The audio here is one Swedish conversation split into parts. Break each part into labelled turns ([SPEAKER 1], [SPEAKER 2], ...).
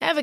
[SPEAKER 1] Ever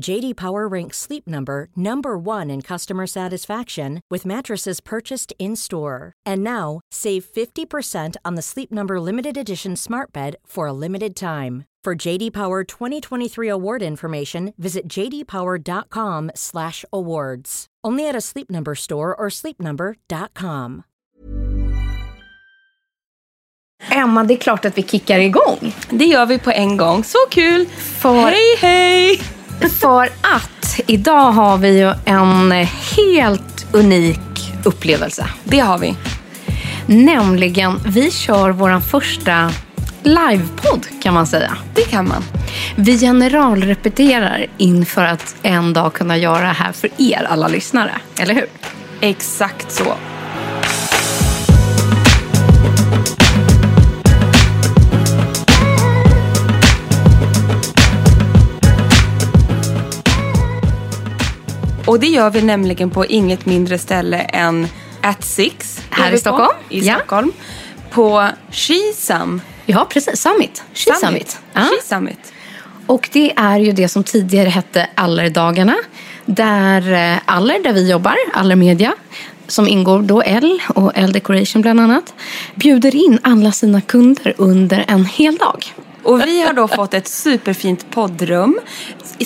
[SPEAKER 2] JD Power ranks Sleep Number number 1 in customer satisfaction with mattresses purchased in-store. And now, save 50% on the Sleep Number limited edition Smart Bed for a limited time. For JD Power 2023 award information, visit jdpower.com/awards. Only at a Sleep Number store or sleepnumber.com.
[SPEAKER 3] Emma, det är klart att vi kickar igång.
[SPEAKER 4] Det gör vi på en gång. Så kul!
[SPEAKER 3] För-
[SPEAKER 4] Hej, hej!
[SPEAKER 3] För att idag har vi ju en helt unik upplevelse.
[SPEAKER 4] Det har vi.
[SPEAKER 3] Nämligen, vi kör vår första livepodd kan man säga.
[SPEAKER 4] Det kan man.
[SPEAKER 3] Vi generalrepeterar inför att en dag kunna göra det här för er alla lyssnare. Eller hur?
[SPEAKER 4] Exakt så. Och det gör vi nämligen på inget mindre ställe än At Six.
[SPEAKER 3] Här i
[SPEAKER 4] är vi på,
[SPEAKER 3] Stockholm.
[SPEAKER 4] I
[SPEAKER 3] Ja.
[SPEAKER 4] Stockholm. På Skisam.
[SPEAKER 3] Ja, precis. Summit. She Summit. Ja.
[SPEAKER 4] Skisummit.
[SPEAKER 3] Och det är ju det som tidigare hette Allerdagarna. Där eh, Aller, där vi jobbar, Aller Media, som ingår då L och L Decoration bland annat, bjuder in alla sina kunder under en hel dag.
[SPEAKER 4] Och vi har då fått ett superfint poddrum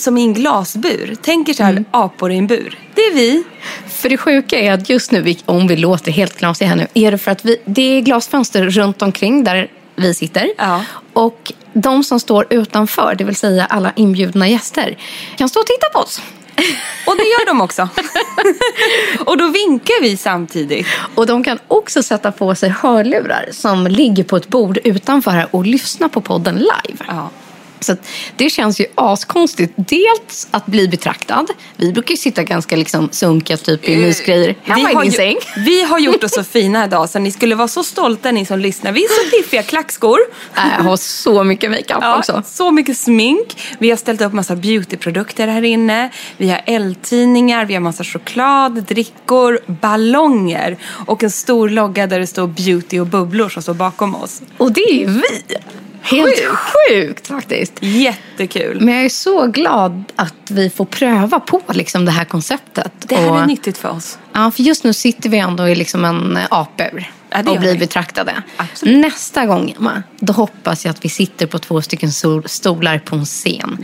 [SPEAKER 4] som är i en glasbur. Tänk er så
[SPEAKER 3] Mm.
[SPEAKER 4] här apor i en bur. Det är vi.
[SPEAKER 3] För det sjuka är att just nu, vi- om vi låter helt knasiga här nu, är det för att vi, det är glasfönster runt omkring där vi sitter.
[SPEAKER 4] Ja.
[SPEAKER 3] Och de som står utanför, det vill säga alla inbjudna gäster, kan stå och titta på oss.
[SPEAKER 4] Och det gör de också. och då vinkar vi samtidigt.
[SPEAKER 3] Och de kan också sätta på sig hörlurar som ligger på ett bord utanför här och lyssna på podden live.
[SPEAKER 4] Ja.
[SPEAKER 3] Så att det känns ju askonstigt. Dels att bli betraktad. Vi brukar ju sitta ganska liksom sunkiga typ i mysgrejer hemma i
[SPEAKER 4] Eh, har
[SPEAKER 3] din
[SPEAKER 4] ju-
[SPEAKER 3] säng.
[SPEAKER 4] vi har gjort oss så fina idag så ni skulle vara så stolta ni som lyssnar. Vi är så piffiga klackskor.
[SPEAKER 3] Äh, Jag har så mycket makeup också.
[SPEAKER 4] så mycket smink. Vi har ställt upp massa beautyprodukter här inne. Vi har eldtidningar, vi har massa choklad, drickor, ballonger och en stor logga där det står beauty och bubblor som står bakom oss.
[SPEAKER 3] Och det är ju vi. Helt sjukt faktiskt.
[SPEAKER 4] Jättekul!
[SPEAKER 3] Men jag är så glad att vi får pröva på liksom det här konceptet.
[SPEAKER 4] Det här
[SPEAKER 3] Och-
[SPEAKER 4] är nyttigt för oss.
[SPEAKER 3] Ja, för just nu sitter vi ändå i liksom en eh, apur
[SPEAKER 4] Ja, det
[SPEAKER 3] och
[SPEAKER 4] gör
[SPEAKER 3] blir
[SPEAKER 4] vi.
[SPEAKER 3] betraktade.
[SPEAKER 4] Absolut.
[SPEAKER 3] Nästa gång, Emma, då hoppas jag att vi sitter på två stycken sol- stolar på en scen.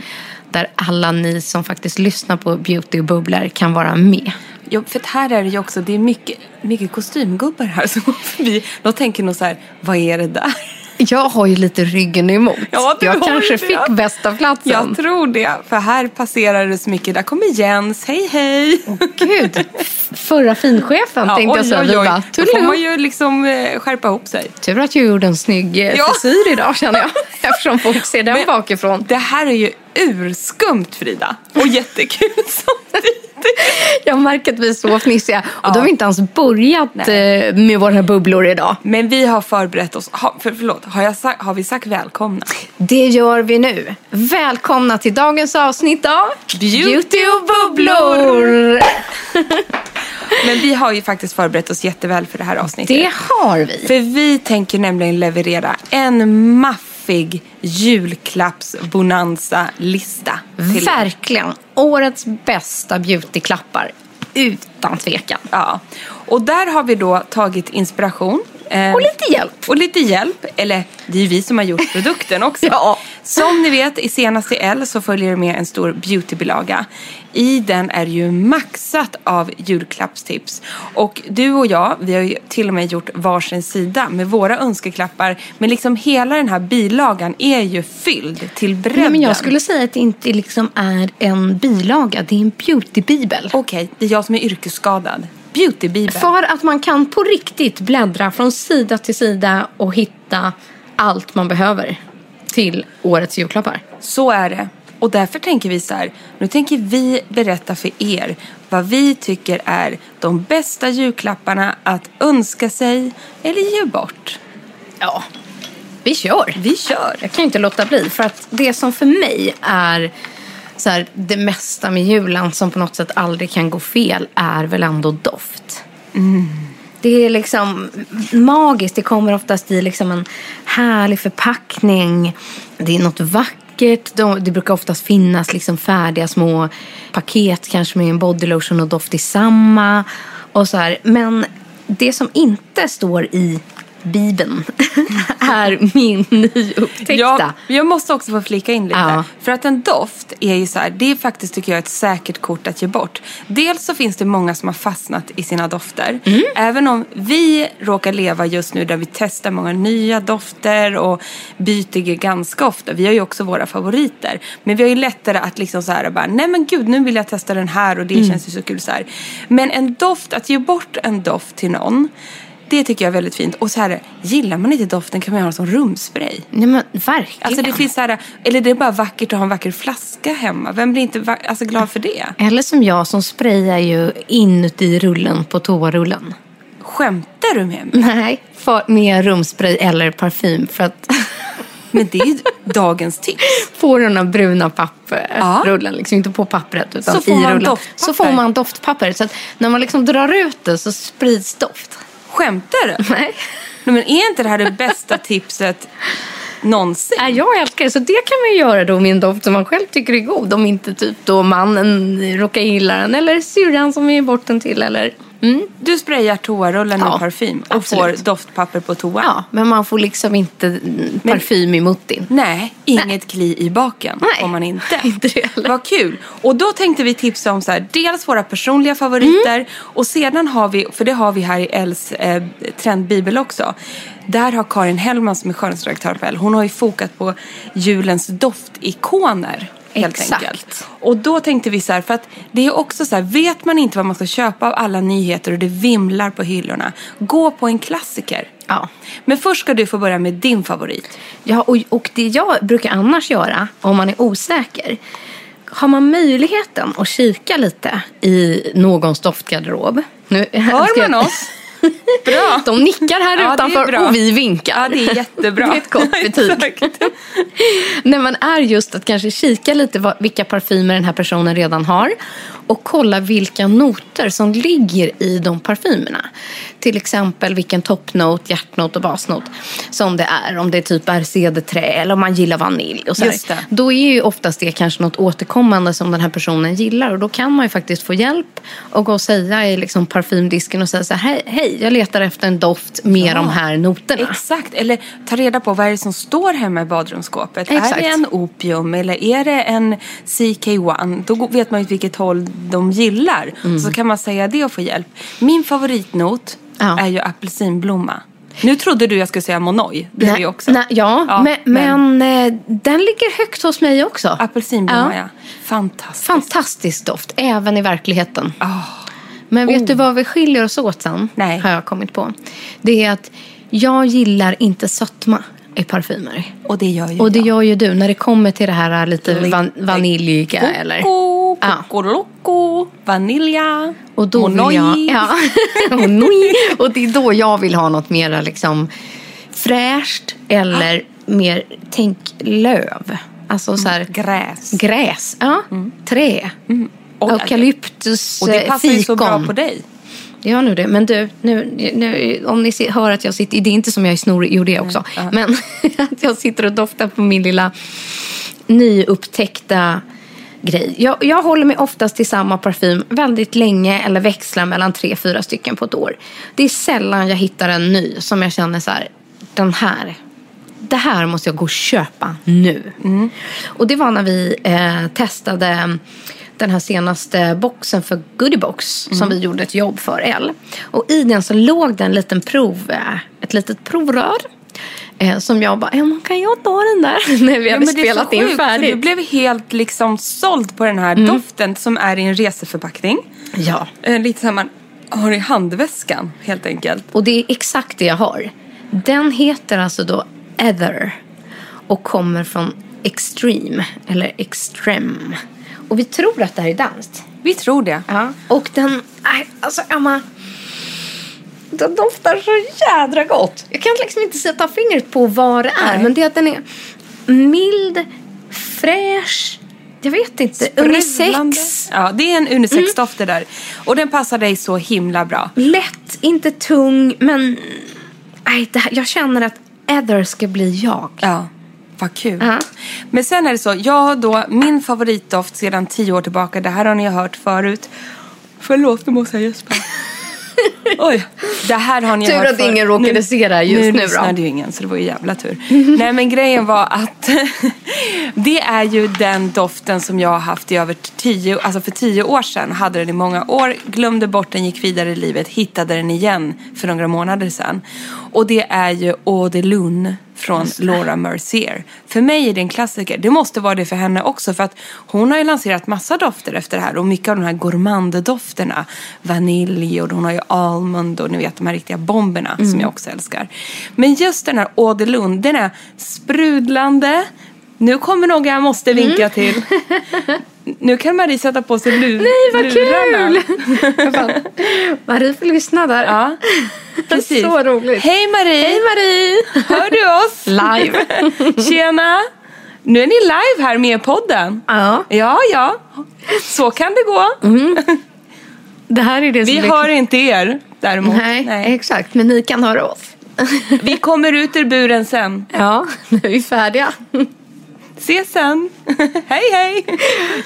[SPEAKER 3] Där alla ni som faktiskt lyssnar på Beauty och Bubblor kan vara med.
[SPEAKER 4] Ja, för att här är det ju också, det är mycket, mycket kostymgubbar här som går förbi. De tänker nog så här, vad är det där?
[SPEAKER 3] Jag har ju lite ryggen emot.
[SPEAKER 4] Ja, du
[SPEAKER 3] jag
[SPEAKER 4] har
[SPEAKER 3] kanske
[SPEAKER 4] det.
[SPEAKER 3] fick bästa platsen.
[SPEAKER 4] Jag tror det, för här passerar det så mycket. Där kommer Jens, hej hej!
[SPEAKER 3] Gud, f- förra finchefen tänkte jag säga. Vi bara,
[SPEAKER 4] Då får
[SPEAKER 3] "Toodaloo."
[SPEAKER 4] man ju liksom eh, skärpa ihop sig.
[SPEAKER 3] Tur att jag gjorde en snygg eh,
[SPEAKER 4] Ja.
[SPEAKER 3] frisyr idag känner jag. Eftersom folk ser den
[SPEAKER 4] Men-
[SPEAKER 3] bakifrån.
[SPEAKER 4] Det här är ju urskumt Frida och jättekul samtidigt.
[SPEAKER 3] Jag märker att vi är så fnissiga. Och då har
[SPEAKER 4] Ja.
[SPEAKER 3] vi inte ens börjat eh, med våra bubblor idag.
[SPEAKER 4] Men vi har förberett oss. Ha, för, förlåt, har, jag sagt, har vi sagt välkomna?
[SPEAKER 3] Det gör vi nu. Välkomna till dagens avsnitt av
[SPEAKER 4] Beauty
[SPEAKER 3] och bubblor.
[SPEAKER 4] Men vi har ju faktiskt förberett oss jätteväl för det här avsnittet.
[SPEAKER 3] Det har vi.
[SPEAKER 4] För vi tänker nämligen leverera en maffig fluffig julklappsbonanza-lista. till-
[SPEAKER 3] Verkligen. Årets bästa beautyklappar. Utan tvekan.
[SPEAKER 4] Ja. Och där har vi då tagit inspiration. eh,
[SPEAKER 3] Och lite hjälp.
[SPEAKER 4] Och lite hjälp, eller det är ju vi som har gjort produkten också.
[SPEAKER 3] Ja.
[SPEAKER 4] Som ni vet, i senaste L så följer det med en stor beautybilaga. I den är ju maxat av julklappstips. Och du och jag, vi har ju till och med gjort varsin sida med våra önskeklappar. Men liksom hela den här bilagan är ju fylld till bredden.
[SPEAKER 3] Nej, men jag skulle säga att det inte liksom är en bilaga, det är en beautybibel.
[SPEAKER 4] Okej, det är jag som är yrkesskadad. Beautybibeln.
[SPEAKER 3] För att man kan på riktigt bläddra från sida till sida och hitta allt man behöver till årets julklappar.
[SPEAKER 4] Så är det. Och därför tänker vi så här, nu tänker vi berätta för er vad vi tycker är de bästa julklapparna att önska sig eller ge bort.
[SPEAKER 3] Ja, vi kör!
[SPEAKER 4] Vi kör!
[SPEAKER 3] Jag kan ju inte låta bli, för att det som för mig är så här, det mesta med julen som på något sätt aldrig kan gå fel är väl ändå doft. Det är liksom magiskt. Det kommer oftast i liksom en härlig förpackning. Det är något vackert. De- Det brukar oftast finnas liksom färdiga små paket kanske med en bodylotion och doft i samma. Och så här. Men det som inte står i Bibeln är min nyupptäckta.
[SPEAKER 4] Jag, jag måste också få flika in lite.
[SPEAKER 3] Ja.
[SPEAKER 4] För att en doft är ju så här, det är faktiskt tycker jag ett säkert kort att ge bort. Dels så finns det många som har fastnat i sina dofter. Även om vi råkar leva just nu där vi testar många nya dofter och byter ju ganska ofta. Vi har ju också våra favoriter. Men vi har ju lättare att liksom så här bara, nej men gud nu vill jag testa den här och det känns ju så kul så här. Men en doft, att ge bort en doft till någon. Det tycker jag är väldigt fint. Och så här, gillar man inte doften kan man ju ha den som rumspray.
[SPEAKER 3] Nej men verkligen.
[SPEAKER 4] Alltså det finns så här, eller det är bara vackert att ha en vacker flaska hemma. Vem blir inte va- alltså glad för det?
[SPEAKER 3] Eller som jag som sprayar ju inuti rullen på toarullen.
[SPEAKER 4] Skämtar du med mig?
[SPEAKER 3] Nej, för, med rumspray eller parfym för att
[SPEAKER 4] Men det är ju dagens tips.
[SPEAKER 3] få den här bruna
[SPEAKER 4] Ja.
[SPEAKER 3] papprullen. Liksom, inte på pappret utan
[SPEAKER 4] Så får
[SPEAKER 3] i
[SPEAKER 4] man
[SPEAKER 3] rullen.
[SPEAKER 4] doftpapper.
[SPEAKER 3] Så får man doftpapper. Så att när man liksom drar ut det så sprids doft.
[SPEAKER 4] Skämtar du?
[SPEAKER 3] Nej.
[SPEAKER 4] Nej, men är inte det här det bästa tipset någonsin?
[SPEAKER 3] Nej, Jag älskar det, så det kan man ju göra då med en doft som man själv tycker är god. Om inte typ då mannen råkar gilla den eller syrran som är bort den till. Eller... Mm.
[SPEAKER 4] Du sprayar toarullen
[SPEAKER 3] Ja,
[SPEAKER 4] med parfym och
[SPEAKER 3] absolut.
[SPEAKER 4] får doftpapper på toa.
[SPEAKER 3] Ja, men man får liksom inte mm, parfym i muttin.
[SPEAKER 4] Nej, inget kli i baken
[SPEAKER 3] Nej,
[SPEAKER 4] får man inte.
[SPEAKER 3] inte det heller.
[SPEAKER 4] Vad kul. Och då tänkte vi tipsa om så här, dels våra personliga favoriter
[SPEAKER 3] Mm.
[SPEAKER 4] och sedan har vi, för det har vi här i Els eh, trendbibel också. Där har Karin Hellman som är skönhetsredaktör på Elle, hon har ju fokat på julens doftikoner. Helt
[SPEAKER 3] Exakt.
[SPEAKER 4] enkelt. Och då tänkte vi så här, för att det är också så här, vet man inte vad man ska köpa av alla nyheter och det vimlar på hyllorna, gå på en klassiker.
[SPEAKER 3] Ja.
[SPEAKER 4] Men först ska du få börja med din favorit.
[SPEAKER 3] Ja, och, och det jag brukar annars göra om man är osäker. Har man möjligheten att kika lite i någons doftgarderob. Nu, ska
[SPEAKER 4] Hör
[SPEAKER 3] jag-
[SPEAKER 4] man oss? Bra.
[SPEAKER 3] De nickar här
[SPEAKER 4] Ja, det är
[SPEAKER 3] utanför
[SPEAKER 4] bra.
[SPEAKER 3] och vi vinkar.
[SPEAKER 4] Ja, det är jättebra.
[SPEAKER 3] Det är ett gott betyg.
[SPEAKER 4] Exakt.
[SPEAKER 3] När man är just att kanske kika lite vad, vilka parfymer den här personen redan har och kolla vilka noter som ligger i de parfymerna. Till exempel vilken toppnot, hjärtnot och basnot som det är. Om det är typ är cederträ eller om man gillar vanilj. Och så här.
[SPEAKER 4] Just det.
[SPEAKER 3] Då är ju oftast det kanske något återkommande som den här personen gillar och då kan man ju faktiskt få hjälp och gå och säga i liksom parfymdisken och säga så här, hej, hej, jag letar efter en doft med de här noterna.
[SPEAKER 4] Exakt, eller ta reda på vad är det som står hemma i badrumsskåpet. Är
[SPEAKER 3] Exakt.
[SPEAKER 4] det en opium eller är det en CK1? Då go- vet man ju åt vilket håll de gillar.
[SPEAKER 3] Mm.
[SPEAKER 4] Så kan man säga det och få hjälp. Min favoritnot
[SPEAKER 3] Ja.
[SPEAKER 4] är ju apelsinblomma. Nu trodde du jag skulle säga monoi. Det är ju också.
[SPEAKER 3] Nej, ja, men, men, eh, den ligger högt hos mig också.
[SPEAKER 4] Apelsinblomma, ja.
[SPEAKER 3] Ja.
[SPEAKER 4] Fantastiskt.
[SPEAKER 3] Fantastisk doft, även i verkligheten.
[SPEAKER 4] Ah.
[SPEAKER 3] Men vet du vad vi skiljer oss åt sen?
[SPEAKER 4] Nej.
[SPEAKER 3] Har jag kommit på. Det är att jag gillar inte sötma i parfymer.
[SPEAKER 4] Och det gör ju
[SPEAKER 3] Och det
[SPEAKER 4] jag.
[SPEAKER 3] gör ju du när det kommer till det här eh, lite
[SPEAKER 4] Lite
[SPEAKER 3] van, vaniljiga eller...
[SPEAKER 4] Coco,
[SPEAKER 3] Ja.
[SPEAKER 4] Cocoloco, vanilja,
[SPEAKER 3] Och då
[SPEAKER 4] monoi.
[SPEAKER 3] vill jag, ja, Monoi. Och det är då jag vill ha något mer liksom fräscht eller mer, tänk löv. Alltså så här,
[SPEAKER 4] Gräs.
[SPEAKER 3] Gräs, ja. Trä.
[SPEAKER 4] Oj,
[SPEAKER 3] Eukalyptus,
[SPEAKER 4] Mm. Och det
[SPEAKER 3] eh,
[SPEAKER 4] passar ju så bra på dig.
[SPEAKER 3] det gör nu det. Men du, nu, nu, om ni se- hör att jag sitter... Det är inte som jag är snorig, jo det är jag också.
[SPEAKER 4] Mm.
[SPEAKER 3] Men att jag sitter och doftar på min lilla nyupptäckta grej. Jag, jag håller mig oftast till samma parfym väldigt länge eller växlar mellan tre, fyra stycken på ett år. Det är sällan jag hittar en ny som jag känner så här, den här det här måste jag gå och köpa nu.
[SPEAKER 4] Mm.
[SPEAKER 3] Och det var när vi eh, testade den här senaste boxen för Goodiebox
[SPEAKER 4] Mm.
[SPEAKER 3] som vi gjorde ett jobb för L. Och i den så låg det en liten prov, eh, ett litet provrör. Eh, som jag bara, "Ja, men kan jag ta den där? när vi hade
[SPEAKER 4] men det är så
[SPEAKER 3] spelat in
[SPEAKER 4] sjukt, för
[SPEAKER 3] färdigt. Mm.
[SPEAKER 4] Du blev helt liksom såld på den här doften som är i en reseförpackning.
[SPEAKER 3] Ja.
[SPEAKER 4] Eh, Lite som man har i handväskan helt enkelt.
[SPEAKER 3] Och det är exakt det jag har. Den heter alltså då Ether och kommer från Extreme eller Extrem. Och vi tror att det här är danskt.
[SPEAKER 4] Vi tror det.
[SPEAKER 3] Ja. Och den, nej, alltså Emma. Den doftar så jädra gott. Jag kan liksom inte sätta fingret på vad det är.
[SPEAKER 4] Nej.
[SPEAKER 3] Men det är att den är mild, fräsch. Jag vet inte.
[SPEAKER 4] Sprudlande.
[SPEAKER 3] Unisex. Mm.
[SPEAKER 4] Ja, det är en unisexdoft det där. Och den passar dig så himla bra.
[SPEAKER 3] Lätt, inte tung. Men nej, det här, jag känner att Ether ska bli jag.
[SPEAKER 4] Ja, vad kul.
[SPEAKER 3] Ja.
[SPEAKER 4] Men sen är det så, jag har då min favoritdoft sedan tio år tillbaka. Det här har ni ju hört förut. Förlåt, nu måste jag gäspa. Oj, det här har ni ju
[SPEAKER 3] Tur
[SPEAKER 4] hört
[SPEAKER 3] att
[SPEAKER 4] förut.
[SPEAKER 3] ingen råkade se det här just nu då.
[SPEAKER 4] Nu lyssnade ju ingen, så det var ju jävla tur. Nej, men grejen var att det är ju den doften som jag har haft i över tio, alltså för tio år sedan. Hade den i många år, glömde bort den, gick vidare i livet, hittade den igen för några månader sedan. Och det är ju Eau de Lune från Laura Mercier. För mig är det en klassiker. Det måste vara det för henne också för att hon har ju lanserat massa dofter efter det här och mycket av de här gourmanddofterna. Vanilj och hon har ju almond och ni vet de här riktiga bomberna
[SPEAKER 3] Mm.
[SPEAKER 4] som jag också älskar. Men just den här Eau de Lune, den är sprudlande. Nu kommer någon jag måste
[SPEAKER 3] Mm.
[SPEAKER 4] vinka till. Nu kan Marie sätta på sig lur-
[SPEAKER 3] Nej, vad
[SPEAKER 4] lurarna.
[SPEAKER 3] kul! Jag bara, Marie får lyssna där.
[SPEAKER 4] Ja, precis.
[SPEAKER 3] Så roligt.
[SPEAKER 4] Hej Marie!
[SPEAKER 3] Hej Marie!
[SPEAKER 4] Hör du oss?
[SPEAKER 3] Live.
[SPEAKER 4] Tjena! Nu är ni live här med i podden.
[SPEAKER 3] Ja.
[SPEAKER 4] Ja, ja. Så kan det gå.
[SPEAKER 3] Det här är det som
[SPEAKER 4] Vi
[SPEAKER 3] blir-
[SPEAKER 4] hör inte er däremot.
[SPEAKER 3] Nej, exakt. Men ni kan höra oss.
[SPEAKER 4] Vi kommer ut ur buren sen.
[SPEAKER 3] Ja, nu är vi färdiga.
[SPEAKER 4] Ses sen. hej, hej!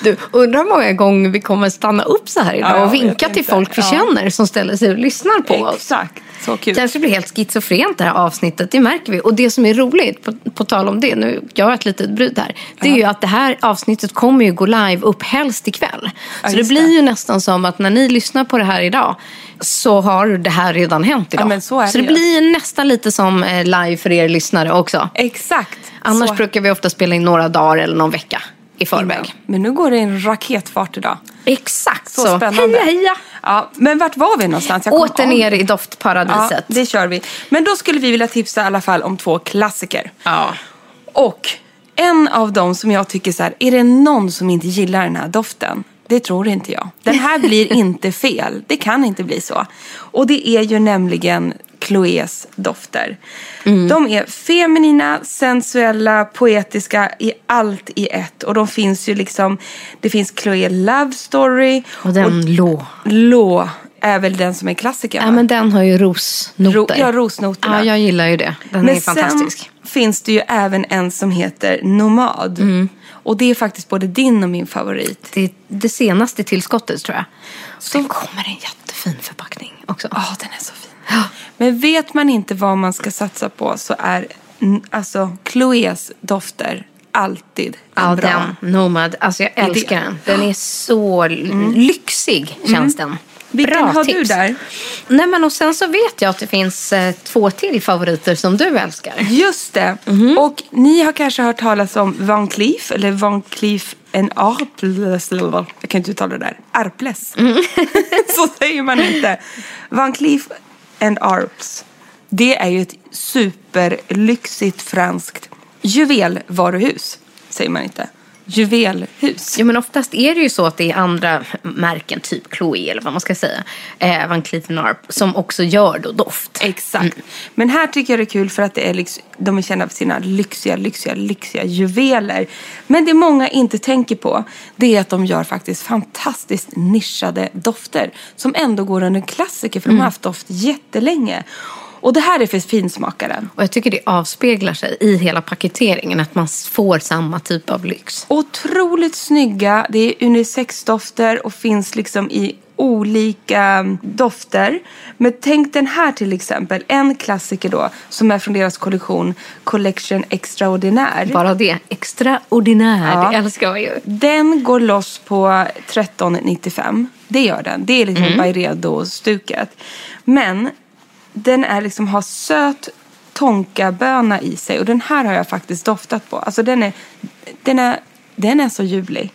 [SPEAKER 3] Du, undrar hur många gånger vi kommer stanna upp så här
[SPEAKER 4] Ja,
[SPEAKER 3] idag
[SPEAKER 4] jag
[SPEAKER 3] och
[SPEAKER 4] vet
[SPEAKER 3] vinka till
[SPEAKER 4] inte.
[SPEAKER 3] folk vi
[SPEAKER 4] Ja.
[SPEAKER 3] känner som ställer sig och lyssnar på oss.
[SPEAKER 4] Exakt. Så kul.
[SPEAKER 3] kanske blir helt schizofrent det här avsnittet, det märker vi. Och det som är roligt, på, på tal om det, nu gör jag ett litet bryt här. Det är ju att det här avsnittet kommer ju gå live upp helst ikväll. så det
[SPEAKER 4] just
[SPEAKER 3] blir
[SPEAKER 4] det.
[SPEAKER 3] ju nästan som att när ni lyssnar på det här idag så har det här redan hänt idag.
[SPEAKER 4] men så är det
[SPEAKER 3] det
[SPEAKER 4] ju.
[SPEAKER 3] blir ju nästan lite som eh, live för er lyssnare också.
[SPEAKER 4] Exakt.
[SPEAKER 3] Annars
[SPEAKER 4] Så-
[SPEAKER 3] brukar vi ofta spela in några dagar eller någon vecka i förväg.
[SPEAKER 4] Men nu går det en raketfart idag.
[SPEAKER 3] Exakt
[SPEAKER 4] Så,
[SPEAKER 3] så.
[SPEAKER 4] spännande.
[SPEAKER 3] Heja, heja.
[SPEAKER 4] Ja, men vart var vi någonstans? Jag kom
[SPEAKER 3] Åter
[SPEAKER 4] av mig.
[SPEAKER 3] ner i doftparadiset.
[SPEAKER 4] Ja, det kör vi. Men då skulle vi vilja tipsa i alla fall om två klassiker.
[SPEAKER 3] Ja.
[SPEAKER 4] Och en av dem som jag tycker så här, är det någon som inte gillar den här doften? Det tror inte jag. Den här blir inte fel. Det kan inte bli så. Och det är ju nämligen Chloés dofter.
[SPEAKER 3] Mm.
[SPEAKER 4] De är feminina, sensuella, poetiska i allt i ett. Och de finns ju liksom, det finns Chloé Love Story.
[SPEAKER 3] Och den lå.
[SPEAKER 4] Lå är väl den som är klassikern.
[SPEAKER 3] Ja,
[SPEAKER 4] va?
[SPEAKER 3] men den har ju rosnoter.
[SPEAKER 4] Ro- ja, rosnoterna.
[SPEAKER 3] Ja, jag gillar ju det. Den är fantastisk.
[SPEAKER 4] sen finns det ju även en som heter Nomad.
[SPEAKER 3] Mm.
[SPEAKER 4] Och det är faktiskt både din och min favorit.
[SPEAKER 3] Det är det senaste tillskottet tror jag. Sen kommer en jättefin förpackning också.
[SPEAKER 4] Ja, den är så fin. Men vet man inte vad man ska satsa på så är n- alltså Chloés dofter alltid en
[SPEAKER 3] Ja,
[SPEAKER 4] bra.
[SPEAKER 3] den. Nomad. Alltså jag älskar den. Den är så l- lyxig, känns den.
[SPEAKER 4] Mm. Vilken
[SPEAKER 3] Bra
[SPEAKER 4] har du
[SPEAKER 3] tips.
[SPEAKER 4] där?
[SPEAKER 3] Nej, men och sen så vet jag att det finns eh, två till favoriter som du älskar.
[SPEAKER 4] Just det. Och ni har kanske hört talas om Van Cleef eller Van Cleef en Arples. eller- Jag kan inte uttala det där. Arples. Så säger man inte. Van Cleef and Arps. Det är ju ett superlyxigt franskt juvelvaruhus. Säger man inte. juvelhus.
[SPEAKER 3] Ja, men oftast är det ju så att det är andra märken, typ Chloé eller vad man ska säga, eh, Van Cleef Arp, som också gör då doft.
[SPEAKER 4] Exakt. Mm. Men här tycker jag det är kul för att det är lyx, de är kända för sina lyxiga, lyxiga, lyxiga juveler. Men det många inte tänker på det är att de gör faktiskt fantastiskt nischade dofter som ändå går under klassiker för de har haft doft jättelänge. Och det här är för finsmakaren.
[SPEAKER 3] Och jag tycker det avspeglar sig i hela paketeringen, att man får samma typ av lyx.
[SPEAKER 4] Otroligt snygga. Det är unisexdofter och finns liksom i olika mm, dofter. Men tänk den här till exempel. En klassiker då som är från deras kollektion Collection Extraordinaire.
[SPEAKER 3] Bara det, extraordinär,
[SPEAKER 4] Ja.
[SPEAKER 3] det älskar jag ju.
[SPEAKER 4] Den går loss på 1395. Det gör den. Det är liksom
[SPEAKER 3] Mm.
[SPEAKER 4] Byredo-stuket. Men den är liksom, har söt tonkaböna i sig. Och den här har jag faktiskt doftat på. Alltså den är, den är, den är så ljuvlig.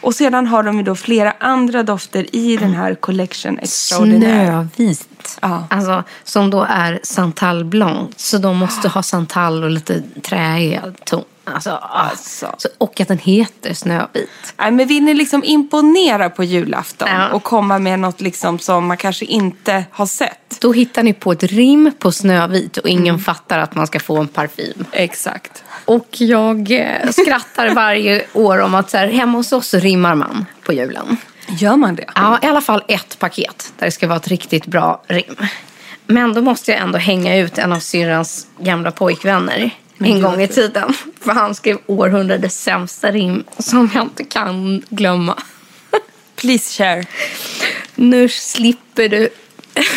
[SPEAKER 4] Och sedan har de ju då flera andra dofter i den här collection extraordinär.
[SPEAKER 3] Snövit.
[SPEAKER 4] Ja.
[SPEAKER 3] Alltså, som då är santal blanc. Så de måste ha santal och lite träiga ton. Alltså, ah.
[SPEAKER 4] Alltså.
[SPEAKER 3] Så, och att den heter Snövit.
[SPEAKER 4] Nej, men vill ni liksom imponera på julafton
[SPEAKER 3] Ja.
[SPEAKER 4] och komma med något liksom som man kanske inte har sett?
[SPEAKER 3] Då hittar ni på ett rim på Snövit och ingen fattar att man ska få en parfym.
[SPEAKER 4] Exakt.
[SPEAKER 3] Mm. Och jag eh, skrattar varje år om att så här, hemma hos oss så rimmar man på julen.
[SPEAKER 4] Gör man det?
[SPEAKER 3] Ja, i alla fall ett paket där det ska vara ett riktigt bra rim. Men då måste jag ändå hänga ut en av syrrans gamla pojkvänner en gång i tiden. För han skrev århundradets sämsta rim som jag inte kan glömma.
[SPEAKER 4] Please share.
[SPEAKER 3] Nu slipper du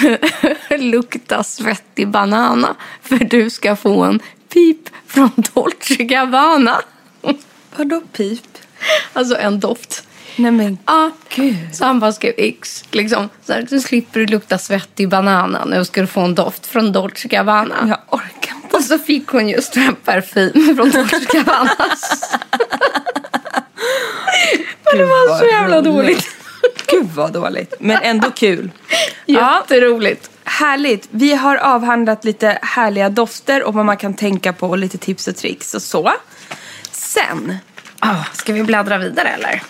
[SPEAKER 3] lukta svettig banana för du ska få en pip från Dolce Gabbana.
[SPEAKER 4] Vadå pip?
[SPEAKER 3] Alltså en doft.
[SPEAKER 4] Nej men
[SPEAKER 3] Ja, så han bara skrev X. Liksom. Så här, nu slipper du lukta svettig banana. Nu ska du få en doft från Dolce Gabbana.
[SPEAKER 4] jag orkar inte.
[SPEAKER 3] Och så fick hon just en parfym från Dolce Gabbana. Men det var så jävla dåligt.
[SPEAKER 4] Gud vad dåligt. Men ändå kul. Ja,
[SPEAKER 3] Jätteroligt.
[SPEAKER 4] härligt. Vi har avhandlat lite härliga dofter och vad man kan tänka på och lite tips och tricks och så. Sen,
[SPEAKER 3] Ah, ska vi bläddra vidare eller?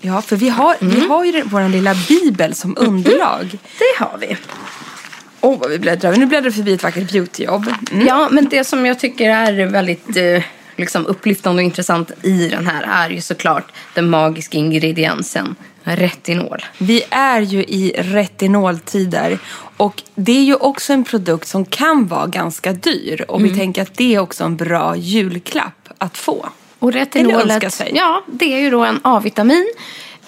[SPEAKER 4] ja för vi har,
[SPEAKER 3] Mm.
[SPEAKER 4] vi har ju vår lilla bibel som underlag.
[SPEAKER 3] Det har vi.
[SPEAKER 4] Åh vad vi bläddrar. Nu bläddrar vi förbi ett vackert beautyjobb. Mm.
[SPEAKER 3] Ja, men det som jag tycker är väldigt eh, liksom upplyftande och intressant i den här är ju såklart den magiska ingrediensen retinol.
[SPEAKER 4] Vi är ju i retinoltider och det är ju också en produkt som kan vara ganska dyr och
[SPEAKER 3] Mm.
[SPEAKER 4] vi tänker att det är också en bra julklapp att få.
[SPEAKER 3] Och
[SPEAKER 4] Eller önska
[SPEAKER 3] retinolet,
[SPEAKER 4] sig.
[SPEAKER 3] ja, det är ju då en A-vitamin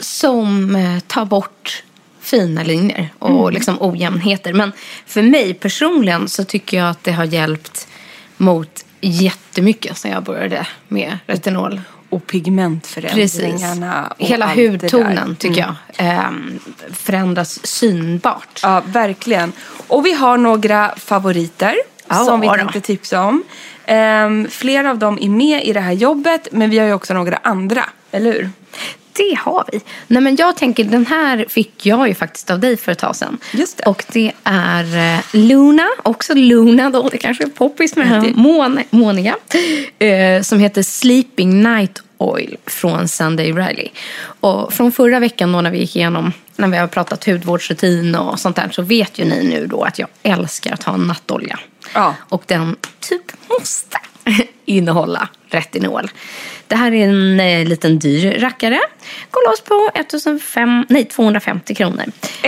[SPEAKER 3] som eh, tar bort fina linjer och liksom ojämnheter. Men för mig personligen så tycker jag att det har hjälpt mot jättemycket sen jag började med retinol.
[SPEAKER 4] och pigmentförändringarna. Och
[SPEAKER 3] Hela
[SPEAKER 4] allt det där.
[SPEAKER 3] hudtonen tycker
[SPEAKER 4] Mm.
[SPEAKER 3] jag ehm, förändras synbart.
[SPEAKER 4] Ja, verkligen. Och vi har några favoriter
[SPEAKER 3] Ja,
[SPEAKER 4] som vi
[SPEAKER 3] då.
[SPEAKER 4] tänkte tipsa om. Ehm, flera av dem är med i det här jobbet, men vi har ju också några andra, eller hur?
[SPEAKER 3] Det har vi. Nej, men jag tänker, den här fick jag ju faktiskt av dig för ett tag sedan.
[SPEAKER 4] Just det.
[SPEAKER 3] Och det är eh, Luna, också Luna då, det kanske är poppis med den här Mån, Måniga. Eh, som heter Sleeping Night Oil från Sunday Riley. Och från förra veckan då när vi gick igenom, när vi har pratat hudvårdsrutin och sånt där, så vet ju ni nu då att jag älskar att ha en nattolja.
[SPEAKER 4] Ja.
[SPEAKER 3] Och den typ måste innehålla retinol. Det här är en eh, liten dyr rackare. Går loss på 1005, nej, 250 kronor.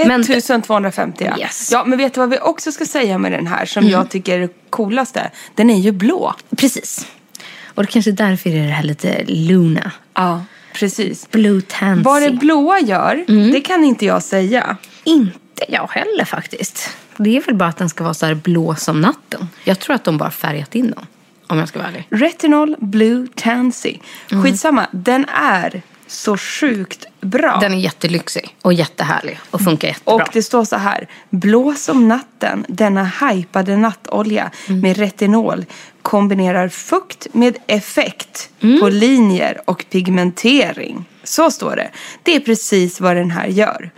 [SPEAKER 3] Men-
[SPEAKER 4] 1250 ja.
[SPEAKER 3] Yes. Mm.
[SPEAKER 4] ja. Men vet du vad vi också ska säga med den här som jag tycker är det coolaste? Den är ju blå.
[SPEAKER 3] Precis. Och det kanske är därför det är det här lite Luna.
[SPEAKER 4] Ja, precis.
[SPEAKER 3] Blue Tansy.
[SPEAKER 4] Vad det blåa gör,
[SPEAKER 3] Mm.
[SPEAKER 4] det kan inte jag säga.
[SPEAKER 3] Inte jag heller faktiskt. Det är väl bara att den ska vara så här blå som natten. Jag tror att de bara färgat in den. Om jag ska vara ärlig.
[SPEAKER 4] Retinol Blue Tansy.
[SPEAKER 3] Mm.
[SPEAKER 4] Skitsamma, den är så sjukt bra.
[SPEAKER 3] Den är jättelyxig och jättehärlig och funkar jättebra.
[SPEAKER 4] Och det står så här. Blå som natten, denna hypade nattolja med retinol kombinerar fukt med effekt på linjer och pigmentering. Så står det. Det är precis vad den här gör.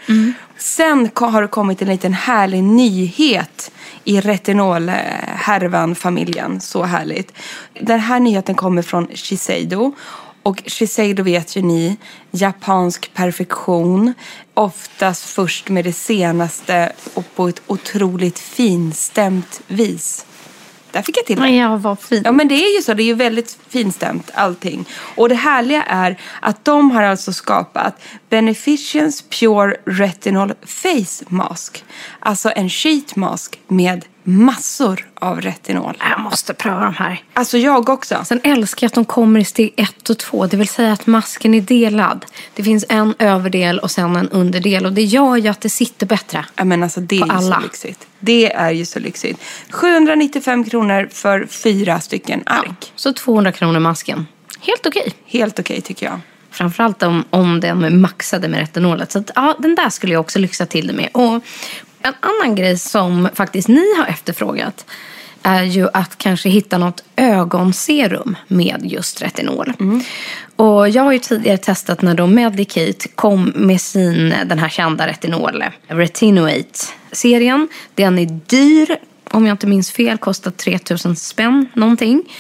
[SPEAKER 4] Sen ko- har det kommit en liten härlig nyhet i retinolhärvan-familjen. Så härligt. Den här nyheten kommer från Shiseido. Och Shiseido vet ju ni, japansk perfektion. Oftast först med det senaste och på ett otroligt finstämt vis. Där fick jag till det.
[SPEAKER 3] Ja, vad fint.
[SPEAKER 4] Ja men det är ju så, det är ju väldigt finstämt allting. Och det härliga är att de har alltså skapat Beneficience Pure Retinol Face Mask. Alltså en sheet mask med massor av retinol.
[SPEAKER 3] Jag måste pröva de här.
[SPEAKER 4] Alltså jag också.
[SPEAKER 3] Sen älskar jag att de kommer i steg ett och två. Det vill säga att masken är delad. Det finns en överdel och sen en underdel. Och det gör ju att det sitter bättre.
[SPEAKER 4] Ja, men alltså det är
[SPEAKER 3] På
[SPEAKER 4] ju
[SPEAKER 3] alla.
[SPEAKER 4] så lyxigt. Det är ju så lyxigt. 795 kronor för fyra stycken ark.
[SPEAKER 3] Så 200 kronor masken. Helt okej.
[SPEAKER 4] Helt okej tycker jag.
[SPEAKER 3] Framförallt om, om den är maxade med retinolet. Så att, ja, den där skulle jag också lyxa till det med. Och en annan grej som faktiskt ni har efterfrågat är ju att kanske hitta något ögonserum med just retinol. Och jag har ju tidigare testat när då Medicate kom med sin, den här kända retinol, Retinoate-serien. Den är dyr, om jag inte minns fel, kostar 3000 spänn någonting.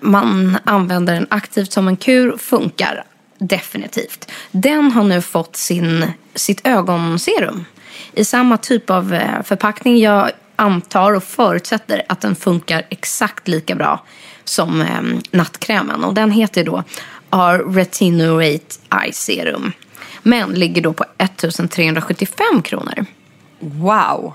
[SPEAKER 3] Man använder den aktivt som en kur, funkar definitivt. Den har nu fått sin, sitt ögonserum i samma typ av eh, förpackning. Jag antar och förutsätter att den funkar exakt lika bra som eh, nattkrämen. Och den heter då R-Retinoate Eye Serum. Men ligger då på 1375 kronor.
[SPEAKER 4] Wow!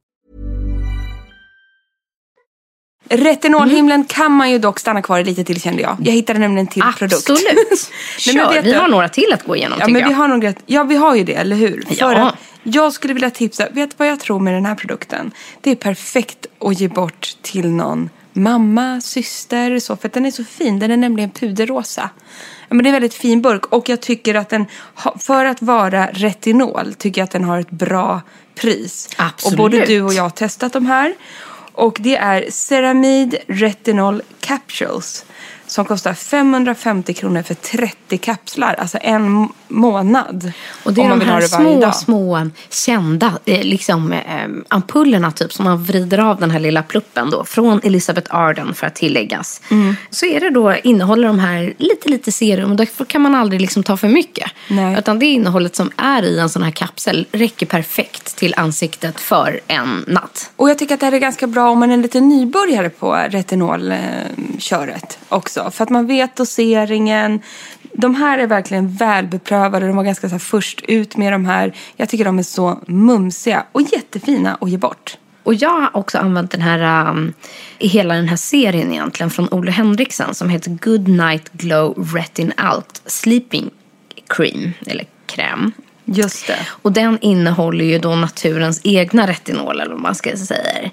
[SPEAKER 4] Retinolhimlen kan man ju dock stanna kvar i lite till kände jag. Jag hittade nämligen en till produkt.
[SPEAKER 3] Absolut.
[SPEAKER 4] Nej, men
[SPEAKER 3] Kör,
[SPEAKER 4] vet
[SPEAKER 3] vi
[SPEAKER 4] du-
[SPEAKER 3] har några till att gå igenom
[SPEAKER 4] Ja,
[SPEAKER 3] tycker
[SPEAKER 4] men vi
[SPEAKER 3] jag.
[SPEAKER 4] har nog rätt. Ja, vi har ju det, eller hur?
[SPEAKER 3] Ja.
[SPEAKER 4] För att jag skulle vilja tipsa. Vet du vad jag tror med den här produkten? Det är perfekt att ge bort till någon mamma, syster, så. För att den är så fin. Den är nämligen puderrosa. Ja, men det är en väldigt fin burk. Och jag tycker att den, ha- för att vara retinol, tycker jag att den har ett bra pris.
[SPEAKER 3] Absolut.
[SPEAKER 4] Och både du och jag har testat de här. Och det är Ceramid Retinol Capsules. Som kostar 550 kronor för 30 kapslar. Alltså en månad.
[SPEAKER 3] Och det
[SPEAKER 4] om
[SPEAKER 3] är
[SPEAKER 4] man
[SPEAKER 3] de
[SPEAKER 4] vill
[SPEAKER 3] här
[SPEAKER 4] ha det varje
[SPEAKER 3] små,
[SPEAKER 4] dag.
[SPEAKER 3] små kända eh, liksom, eh, ampullerna typ som man vrider av den här lilla pluppen då från Elizabeth Arden för att tilläggas.
[SPEAKER 4] Mm.
[SPEAKER 3] Så är det då, innehåller de här lite, lite serum och därför kan man aldrig liksom ta för mycket.
[SPEAKER 4] Nej.
[SPEAKER 3] Utan det innehållet som är i en sån här kapsel räcker perfekt till ansiktet för en natt.
[SPEAKER 4] Och jag tycker att det här är ganska bra om man är lite nybörjare på retinolköret eh, också. För att man vet doseringen. De här är verkligen välbeprövade. De var ganska så här först ut med de här. Jag tycker de är så mumsiga och jättefina att ge bort.
[SPEAKER 3] Och jag har också använt den här, um, i hela den här serien egentligen från Ole Henriksen som heter Good Night Glow Retin Alt Sleeping Cream, eller kräm.
[SPEAKER 4] Just det.
[SPEAKER 3] Och den innehåller ju då naturens egna retinol, eller vad man ska säga.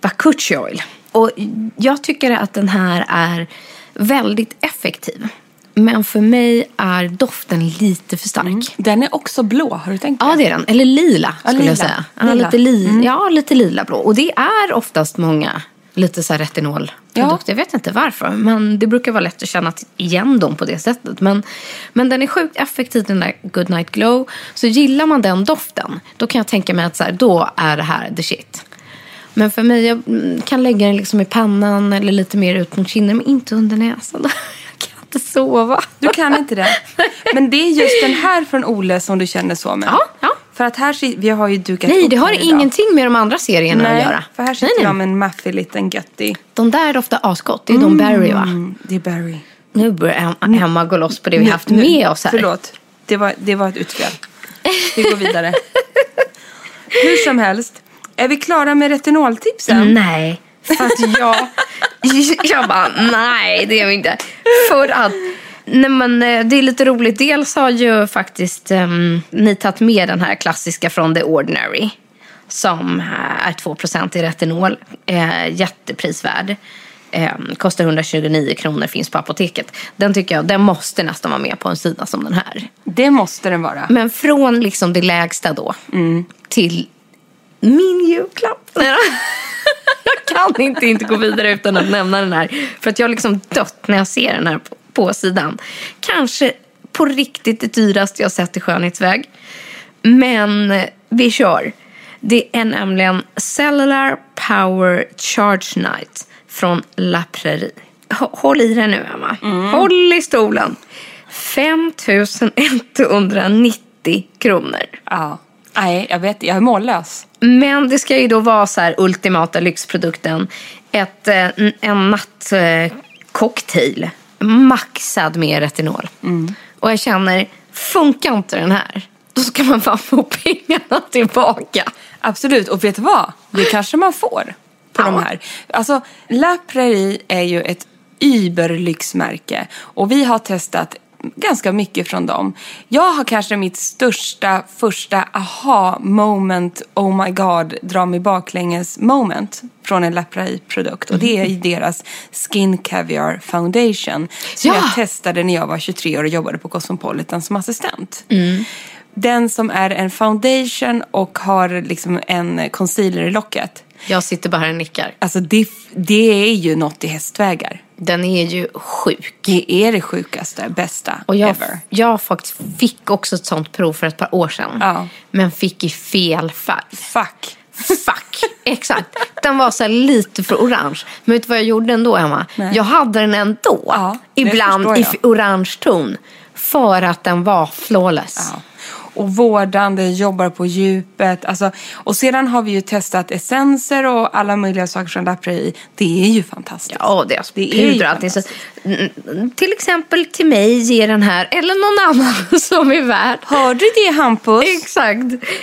[SPEAKER 3] Bakuchi oil. Och jag tycker att den här är väldigt effektiv. Men för mig är doften lite för stark.
[SPEAKER 4] Den är också blå, har du tänkt på
[SPEAKER 3] Ja, det är den. Eller lila, skulle
[SPEAKER 4] lila. Mm.
[SPEAKER 3] jag säga. Ja,
[SPEAKER 4] Lila.
[SPEAKER 3] Lite li- ja, lite lila blå. Och det är oftast många lite så här retinolprodukter.
[SPEAKER 4] Ja.
[SPEAKER 3] Jag vet inte varför, men det brukar vara lätt att känna igen dem på det sättet. Men, men den är sjukt effektiv, den där Good Night Glow. Så gillar man den doften, då kan jag tänka mig att så här, då är det här the shit. Men för mig, jag mm, kan lägga den liksom i pannan eller lite mer ut mot kinden, men inte under näsan. Jag kan inte sova.
[SPEAKER 4] Du kan inte det. Men det är just den här från Ole som du känner så med.
[SPEAKER 3] Ja, ja.
[SPEAKER 4] För att här, sit- vi har ju dukat
[SPEAKER 3] Nej,
[SPEAKER 4] upp
[SPEAKER 3] det har
[SPEAKER 4] här idag.
[SPEAKER 3] ingenting med de andra serierna
[SPEAKER 4] Nej,
[SPEAKER 3] att göra.
[SPEAKER 4] för här sitter jag med en maffig liten götti.
[SPEAKER 3] De där doftar asgott. Det är de Barry, va?
[SPEAKER 4] Mm, det är Barry.
[SPEAKER 3] Nu börjar Em- Emma gå loss på det vi haft med oss här.
[SPEAKER 4] Förlåt, det var, det var ett utspel. Vi går vidare. Hur som helst, är vi klara med retinoltipsen?
[SPEAKER 3] Mm, Nej.
[SPEAKER 4] För att jag...
[SPEAKER 3] Jag bara, nej det är vi inte. För att, nej men eh, det är lite roligt. Dels har ju faktiskt ehm, ni tagit med den här klassiska från The Ordinary. Som eh, är 2% i retinol. Eh, jätteprisvärd. Ehm, kostar 129 kronor, finns på apoteket. Den tycker jag, den måste nästan vara med på en sida som den här.
[SPEAKER 4] Det måste den vara.
[SPEAKER 3] Men från liksom det lägsta då till min julklapp. Nej då. jag kan inte, inte gå vidare utan att nämna den här. För att jag har liksom dött när jag ser den här på, på sidan. Kanske på riktigt det dyraste jag sett i skönhetsväg. Men vi kör. Det är nämligen Cellular Power Charge Night från La Prairie. H- Håll i dig nu, Emma. Håll i stolen. 5 190 kronor.
[SPEAKER 4] Ja. Nej, jag vet, jag är mållös.
[SPEAKER 3] Men det ska ju då vara så här ultimata lyxprodukten. Ett, eh, n- en nattcocktail. Maxad med retinol. Och jag känner, funkar inte den här, då ska man fan få pengarna tillbaka.
[SPEAKER 4] Absolut, och vet du vad? Det kanske man får på de här. Alltså, La Prairie är ju ett überlyxmärke och vi har testat ganska mycket från dem. Jag har kanske mitt största första aha moment, oh my god, dra mig baklänges moment från en La Prairie-produkt och det är i deras Skin Caviar Foundation som
[SPEAKER 3] Ja!
[SPEAKER 4] jag testade när jag var 23 år och jobbade på Cosmopolitan som assistent. Den som är en foundation och har liksom en concealer i locket.
[SPEAKER 3] Jag sitter bara här och nickar.
[SPEAKER 4] Alltså det, det är ju något i hästvägar.
[SPEAKER 3] Den är ju sjuk.
[SPEAKER 4] Det är det sjukaste, bästa
[SPEAKER 3] Och jag,
[SPEAKER 4] ever.
[SPEAKER 3] jag faktiskt fick också ett sånt prov för ett par år sedan.
[SPEAKER 4] Ja.
[SPEAKER 3] Men fick i fel färg.
[SPEAKER 4] Fuck.
[SPEAKER 3] Fuck! Exakt. Den var så här lite för orange. Men vet du vad jag gjorde ändå, Emma? Jag hade den ändå.
[SPEAKER 4] Ja, det
[SPEAKER 3] ibland
[SPEAKER 4] förstår
[SPEAKER 3] i
[SPEAKER 4] jag.
[SPEAKER 3] f- orange ton. För att den var flawless.
[SPEAKER 4] Ja. Och vårdande, jobbar på djupet. Alltså, och sedan har vi ju testat essenser och alla möjliga saker som lappar i. Det är ju fantastiskt.
[SPEAKER 3] Ja, det är
[SPEAKER 4] Det är ju
[SPEAKER 3] pudrat. Det är så, Mm, till exempel till mig ger den här, eller någon annan som är värd.
[SPEAKER 4] Hör du det Hampus?
[SPEAKER 3] Exakt.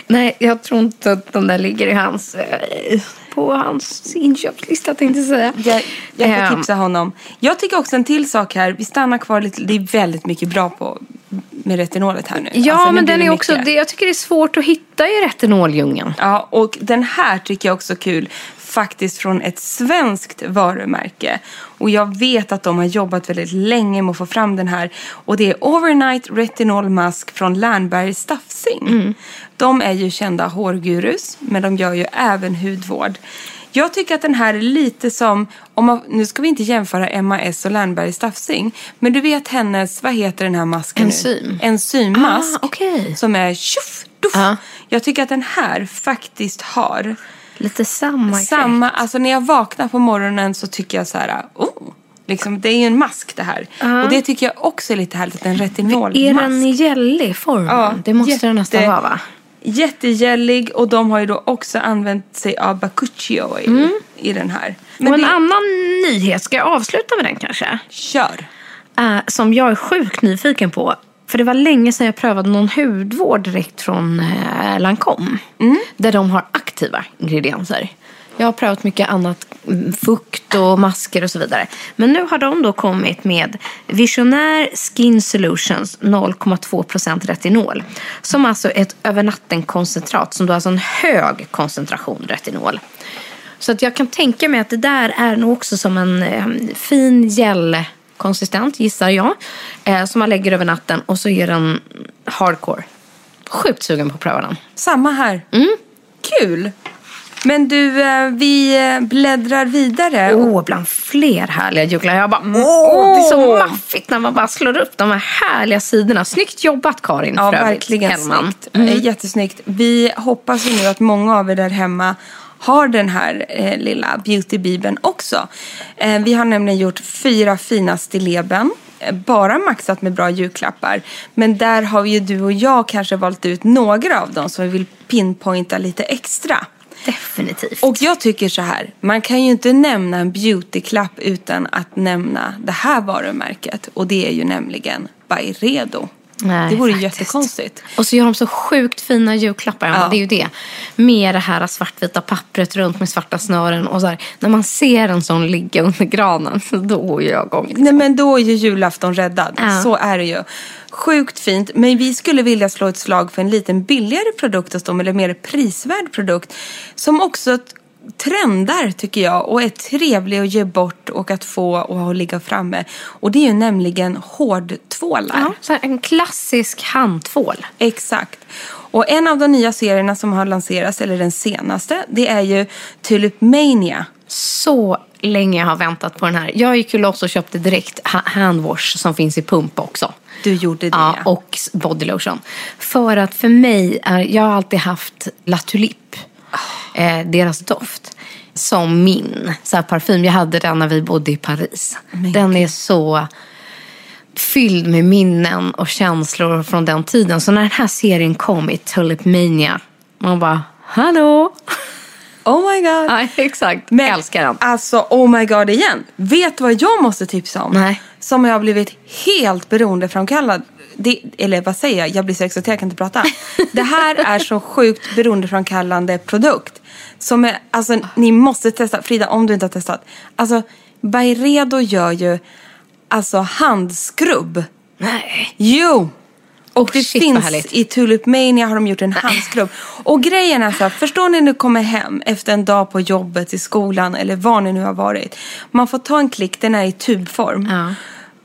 [SPEAKER 3] Nej, jag tror inte att den där ligger i hans, eh, på hans inköpslista tänkte jag säga.
[SPEAKER 4] Jag, jag får
[SPEAKER 3] Ehm,
[SPEAKER 4] tipsa honom. Jag tycker också en till sak här. Vi stannar kvar lite. Det är väldigt mycket bra på med retinolet här nu.
[SPEAKER 3] Ja,
[SPEAKER 4] Alltså, nu
[SPEAKER 3] men
[SPEAKER 4] blir
[SPEAKER 3] den
[SPEAKER 4] det
[SPEAKER 3] är också,
[SPEAKER 4] mycket.
[SPEAKER 3] det, jag tycker det är svårt att hitta i retinoldjungeln.
[SPEAKER 4] Ja, och den här tycker jag också är kul. Faktiskt från ett svenskt varumärke. Och jag vet att de har jobbat väldigt länge med att få fram den här. Och det är Overnight Retinol Mask från Lernberg Staffsing.
[SPEAKER 3] Mm.
[SPEAKER 4] De är ju kända hårgurus, men de gör ju även hudvård. Jag tycker att den här är lite som, om man, nu ska vi inte jämföra MAS och Lernberg Staffsing, men du vet hennes, vad heter den här masken
[SPEAKER 3] Enzym.
[SPEAKER 4] nu? Enzymmask.
[SPEAKER 3] Ah, okej.
[SPEAKER 4] Som är tjoff, doff.
[SPEAKER 3] Ja. Oh
[SPEAKER 4] Jag tycker att den här faktiskt har
[SPEAKER 3] Lite samma effekt.
[SPEAKER 4] samma... Alltså när jag vaknar på morgonen så tycker jag så här... Oh, liksom, det är ju en mask det här. Och det tycker jag också är lite härligt att det är en retinolmask.
[SPEAKER 3] Är den i gällig form? det måste den nästan
[SPEAKER 4] jätte-
[SPEAKER 3] vara va?
[SPEAKER 4] Jättegällig och de har ju då också använt sig av bakuchioi i den här. Men
[SPEAKER 3] Mm. och en
[SPEAKER 4] det,
[SPEAKER 3] annan nyhet, ska jag avsluta med den kanske?
[SPEAKER 4] kör!
[SPEAKER 3] Eh, som jag är sjukt nyfiken på. För det var länge sedan jag prövade någon hudvård direkt från eh, Lancome. Där de har aktiva ingredienser. Jag har prövat mycket annat, mm, fukt och masker och så vidare. Men nu har de då kommit med Visionaire Skin Solutions 0,2% retinol. Som alltså är ett övernattenkoncentrat som då har alltså en hög koncentration retinol. Så att jag kan tänka mig att det där är nog också som en eh, fin gelkonsistent, gissar jag. Eh, som man lägger över natten och så är den hardcore. Sjukt sugen på att pröva den.
[SPEAKER 4] Samma här. Kul! Men du, eh, vi eh, bläddrar vidare.
[SPEAKER 3] Åh, oh, bland fler härliga julklappar. Jag bara, åh, det är så
[SPEAKER 4] Mm. Åh.
[SPEAKER 3] maffigt när man bara slår upp de här härliga sidorna. Snyggt jobbat Karin
[SPEAKER 4] Ja,
[SPEAKER 3] för övrigt,
[SPEAKER 4] verkligen
[SPEAKER 3] Hellman. Mm.
[SPEAKER 4] snyggt. Eh, Jättesnyggt. Vi hoppas ju nu att många av er där hemma har den här eh, lilla beautybibeln också. Eh, vi har nämligen gjort fyra fina stilleben. eh, Bara maxat med bra julklappar. Men där har ju du och jag kanske valt ut några av dem som vi vill pinpointa lite extra.
[SPEAKER 3] Definitivt.
[SPEAKER 4] Och jag tycker så här, man kan ju inte nämna en beautyklapp utan att nämna det här varumärket. Och det är ju nämligen Byredo.
[SPEAKER 3] Nej,
[SPEAKER 4] det vore ju
[SPEAKER 3] faktiskt.
[SPEAKER 4] jättekonstigt.
[SPEAKER 3] Och så gör de så sjukt fina julklappar. Emma.
[SPEAKER 4] Ja.
[SPEAKER 3] Det är ju det. Med det här svartvita pappret runt med svarta snören. Och så här, när man ser en sån ligga under granen, så då går jag igång.
[SPEAKER 4] Nej men då är ju julafton räddad.
[SPEAKER 3] Liksom. Ja.
[SPEAKER 4] Så är det ju. Sjukt fint. Men vi skulle vilja slå ett slag för en liten billigare produkt hos dem. Eller mer prisvärd produkt. Som också t- trendar tycker jag. Och är trevlig att ge bort och att få och att ligga framme. Och det är ju nämligen hårdtvålar.
[SPEAKER 3] Ja, så här, en klassisk handtvål.
[SPEAKER 4] Exakt. Och en av de nya serierna som har lanserats, eller den senaste, det är ju Tulipmania.
[SPEAKER 3] Så länge jag har väntat på den här. Jag gick ju loss och köpte direkt ha- handwash som finns i pump också.
[SPEAKER 4] Du gjorde det.
[SPEAKER 3] Ja, och s- body lotion. För att för mig, är, jag har alltid haft La Tulipe, eh, deras doft, som min så här, parfym. Jag hade den när vi bodde i Paris. den är så fylld med minnen och känslor från den tiden. Så när den här serien kom i Tulip Mania, man bara, hallå!
[SPEAKER 4] Oh my god.
[SPEAKER 3] Ja, exakt.
[SPEAKER 4] Men,
[SPEAKER 3] Älskar den.
[SPEAKER 4] Alltså, oh my god igen. Vet du vad jag måste tipsa om?
[SPEAKER 3] Nej.
[SPEAKER 4] Som jag har blivit helt beroendeframkallad. Det, eller vad säger jag? Jag blir så exalterad, jag kan inte prata. Det här är så sjukt beroendeframkallande produkt. Som är, alltså, ni måste testa. Frida, om du inte har testat. Alltså, Byredo gör ju alltså handskrubb.
[SPEAKER 3] Nej.
[SPEAKER 4] Jo! Och
[SPEAKER 3] Oh,
[SPEAKER 4] det
[SPEAKER 3] shit, vad
[SPEAKER 4] finns
[SPEAKER 3] härligt.
[SPEAKER 4] i Tulipmania har de gjort en handskrubb. Och grejen är så här, förstår ni när du kommer hem efter en dag på jobbet, i skolan eller var ni nu har varit. Man får ta en klick, den är i tubform.
[SPEAKER 3] Ja.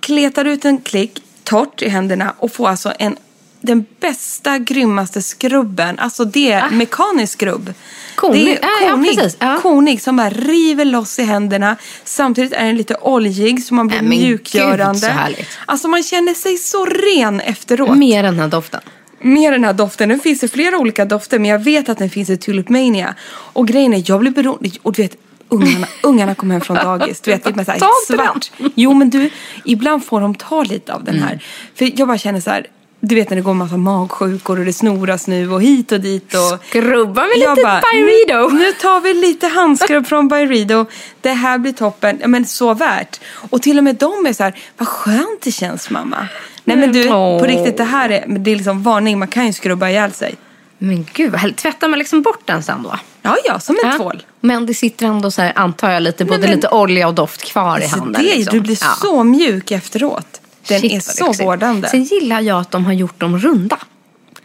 [SPEAKER 4] Kletar ut en klick, torrt i händerna och får alltså en, den bästa, grymmaste skrubben. Alltså det är mekanisk skrubb.
[SPEAKER 3] Ah. Konig.
[SPEAKER 4] Det är
[SPEAKER 3] Ja, ja,
[SPEAKER 4] konig,
[SPEAKER 3] precis. Ja.
[SPEAKER 4] konig som bara river loss i händerna. Samtidigt är den lite oljig så man blir
[SPEAKER 3] Nej, men gud,
[SPEAKER 4] mjukgörande.
[SPEAKER 3] så härligt.
[SPEAKER 4] Alltså man känner sig så ren efteråt.
[SPEAKER 3] Mer den här doften.
[SPEAKER 4] Med den här doften, den finns i flera olika dofter men jag vet att den finns i Tulipmania. Och grejen är, jag blir beroende, och du vet ungarna, ungarna kommer hem från dagis, du vet det är med så här
[SPEAKER 3] Ta inte Mm.
[SPEAKER 4] svart. Jo men du, ibland får de ta lite av den här. För jag bara känner så här, du vet när det går en massa magsjukor och det snoras nu och hit och dit och...
[SPEAKER 3] Skrubba med
[SPEAKER 4] Jag
[SPEAKER 3] lite
[SPEAKER 4] bara, "Mm,
[SPEAKER 3] Byredo.
[SPEAKER 4] Nu, nu tar vi lite handskrubb från Byredo. Det här blir toppen. Ja, Men så värt. Och till och med de är så här, vad skönt det känns mamma. Nej men du,
[SPEAKER 3] Mm, Åh.
[SPEAKER 4] på riktigt det här är, men det är liksom varning. Man kan ju skrubba ihjäl sig.
[SPEAKER 3] Men gud vad härligt. Tvättar man liksom bort den sen då?
[SPEAKER 4] Ja, ja, som en
[SPEAKER 3] Ja.
[SPEAKER 4] tvål.
[SPEAKER 3] Men det sitter ändå så här, antar jag, lite, både
[SPEAKER 4] men-
[SPEAKER 3] lite olja och doft kvar i
[SPEAKER 4] Så
[SPEAKER 3] handen.
[SPEAKER 4] det,
[SPEAKER 3] liksom.
[SPEAKER 4] Du blir
[SPEAKER 3] Ja.
[SPEAKER 4] så mjuk efteråt. Den
[SPEAKER 3] Shit,
[SPEAKER 4] är
[SPEAKER 3] vad
[SPEAKER 4] så
[SPEAKER 3] lyxigt.
[SPEAKER 4] vårdande.
[SPEAKER 3] Sen gillar jag att de har gjort dem runda.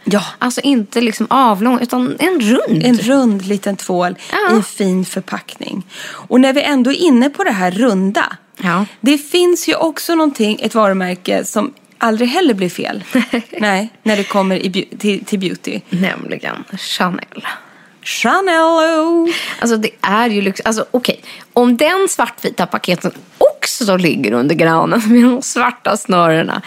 [SPEAKER 4] Ja.
[SPEAKER 3] Alltså inte liksom avlång, utan en rund.
[SPEAKER 4] En rund liten tvål
[SPEAKER 3] Ja.
[SPEAKER 4] i en fin förpackning. Och när vi ändå är inne på det här runda.
[SPEAKER 3] Ja.
[SPEAKER 4] Det finns ju också någonting, ett varumärke som aldrig heller blir fel. Nej, när det kommer i, beau- till, till beauty.
[SPEAKER 3] Nämligen Chanel.
[SPEAKER 4] Chanel!
[SPEAKER 3] Alltså det är ju lyx. Alltså okej, om den svartvita paketen också ligger under granen med de svarta snörena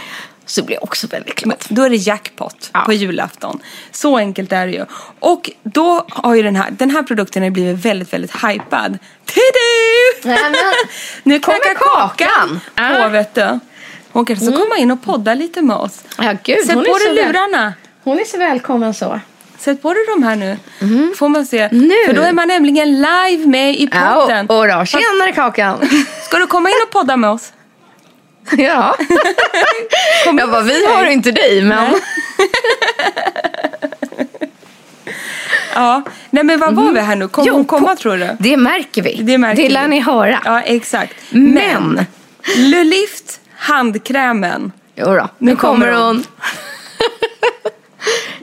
[SPEAKER 3] så blir jag också väldigt glad.
[SPEAKER 4] Då är det jackpot
[SPEAKER 3] Ja.
[SPEAKER 4] på julafton. Så enkelt är det ju. Och då har ju den här, den här produkten har blivit väldigt, väldigt hypad. Tidu!
[SPEAKER 3] Nej, men-
[SPEAKER 4] nu
[SPEAKER 3] Kommer
[SPEAKER 4] knackar kakan
[SPEAKER 3] kakan!
[SPEAKER 4] på
[SPEAKER 3] Ja. Mm.
[SPEAKER 4] vet du. Hon kanske ska komma in och podda lite med oss.
[SPEAKER 3] Ja, gud,
[SPEAKER 4] Sätt
[SPEAKER 3] hon
[SPEAKER 4] på
[SPEAKER 3] är så
[SPEAKER 4] dig
[SPEAKER 3] väl-
[SPEAKER 4] lurarna.
[SPEAKER 3] Hon är så välkommen så.
[SPEAKER 4] Sätt på dig de här nu. Får man se.
[SPEAKER 3] Mm. Nu.
[SPEAKER 4] För då är man nämligen live med i podden.
[SPEAKER 3] och, och då, tjenare Kakan!
[SPEAKER 4] Ska du komma in och podda med oss?
[SPEAKER 3] Ja.
[SPEAKER 4] Kom
[SPEAKER 3] Jag
[SPEAKER 4] in
[SPEAKER 3] bara,
[SPEAKER 4] och
[SPEAKER 3] vi
[SPEAKER 4] säg.
[SPEAKER 3] har inte dig, men...
[SPEAKER 4] Ja. Nej men vad var vi här nu? Kommer hon komma
[SPEAKER 3] Mm. på-
[SPEAKER 4] tror du?
[SPEAKER 3] Det märker vi.
[SPEAKER 4] Det märker
[SPEAKER 3] det lär
[SPEAKER 4] vi.
[SPEAKER 3] ni höra.
[SPEAKER 4] Ja exakt.
[SPEAKER 3] Men-
[SPEAKER 4] Lulift handkrämen.
[SPEAKER 3] Jo då, nu kommer hon.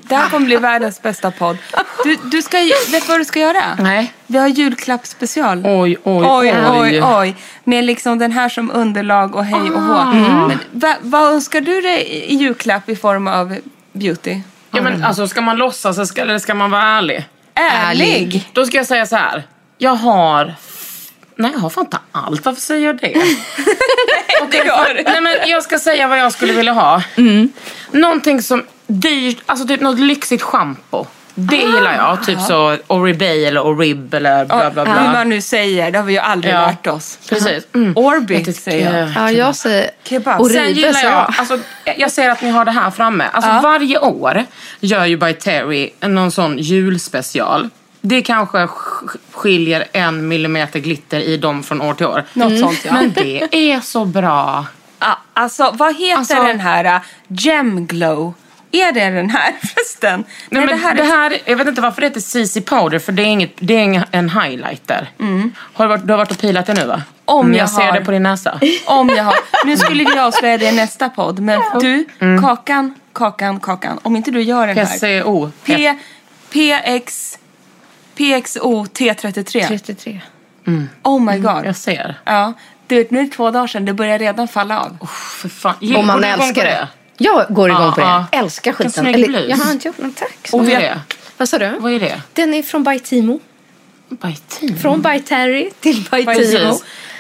[SPEAKER 4] Det här kommer bli världens bästa podd. Du, du ska, vet du vad du ska göra?
[SPEAKER 3] Nej.
[SPEAKER 4] Vi har julklappsspecial.
[SPEAKER 5] Oj, oj,
[SPEAKER 4] oj.
[SPEAKER 5] oj.
[SPEAKER 4] oj, oj. Med liksom den här som underlag och hej och
[SPEAKER 5] Ah.
[SPEAKER 4] hå.
[SPEAKER 5] Mm.
[SPEAKER 4] Men va, vad önskar du dig i julklapp i form av beauty?
[SPEAKER 5] Ja, men, alltså, ska man låtsas eller ska, eller ska man vara ärlig?
[SPEAKER 4] ärlig.
[SPEAKER 5] Då ska jag säga så här. Jag har... Nej, jag har fan inte allt. Varför säger jag det?
[SPEAKER 4] Det gör du. Mm.
[SPEAKER 5] Nej, men jag ska säga vad jag skulle vilja ha. Någonting som dyrt, alltså typ något lyxigt schampo.
[SPEAKER 4] Ah.
[SPEAKER 5] Det gillar jag. Typ så Oribay eller Orib eller bla bla
[SPEAKER 4] Hur
[SPEAKER 5] bla.
[SPEAKER 4] man nu säger, det har vi ju aldrig
[SPEAKER 5] Ja. Mm.
[SPEAKER 4] lärt oss.
[SPEAKER 5] Precis.
[SPEAKER 4] Orbi säger
[SPEAKER 5] eh,
[SPEAKER 4] jag.
[SPEAKER 3] Ja, jag säger
[SPEAKER 4] Kebab.
[SPEAKER 3] Oribe,
[SPEAKER 5] Sen gillar
[SPEAKER 3] säger
[SPEAKER 5] jag, alltså, jag ser att ni har det här framme. Alltså, Varje år gör ju By Terry någon sån julspecial. Det kanske sk- skiljer en millimeter glitter i dem från år till år. Mm.
[SPEAKER 4] Något sånt ja.
[SPEAKER 5] Men det är så bra.
[SPEAKER 4] Ah, alltså vad heter
[SPEAKER 5] Alltså-
[SPEAKER 4] den här? ah, Gem glow? Är det den här förresten?
[SPEAKER 5] Nej, men det, här jag vet inte varför det heter CC powder för det är, inget, det är ingen- en highlighter. Har du, varit, du har varit och pilat det nu va?
[SPEAKER 4] Om
[SPEAKER 5] Mm,
[SPEAKER 4] jag
[SPEAKER 5] ser
[SPEAKER 4] har.
[SPEAKER 5] det på din näsa.
[SPEAKER 4] Om jag har. Nu skulle vi avslöja det i nästa podd. Men du, kakan, kakan, kakan. Om inte du gör den här.
[SPEAKER 5] PCO.
[SPEAKER 4] P, PX, PXO T33.
[SPEAKER 3] 33.
[SPEAKER 4] Oh my god.
[SPEAKER 5] Mm, Jag ser.
[SPEAKER 4] Ja. Du vet, nu är det två dagar sedan. Det börjar redan falla av.
[SPEAKER 5] För fan. Gill,
[SPEAKER 3] Om man
[SPEAKER 5] går du igång
[SPEAKER 3] älskar
[SPEAKER 5] på
[SPEAKER 3] det. Jag går igång på det.
[SPEAKER 5] Ja, ja.
[SPEAKER 3] Älskar
[SPEAKER 5] Vilken
[SPEAKER 3] skiten.
[SPEAKER 5] snygg
[SPEAKER 3] Eller,
[SPEAKER 5] blus.
[SPEAKER 3] jag har inte gjort någon tack. så
[SPEAKER 5] Och vad är
[SPEAKER 3] mycket.
[SPEAKER 5] det?
[SPEAKER 3] Vad sa du?
[SPEAKER 5] Vad är det?
[SPEAKER 3] Den är från By Timo.
[SPEAKER 5] By team.
[SPEAKER 3] Från By Terry till By Timo.
[SPEAKER 5] Precis. Mm.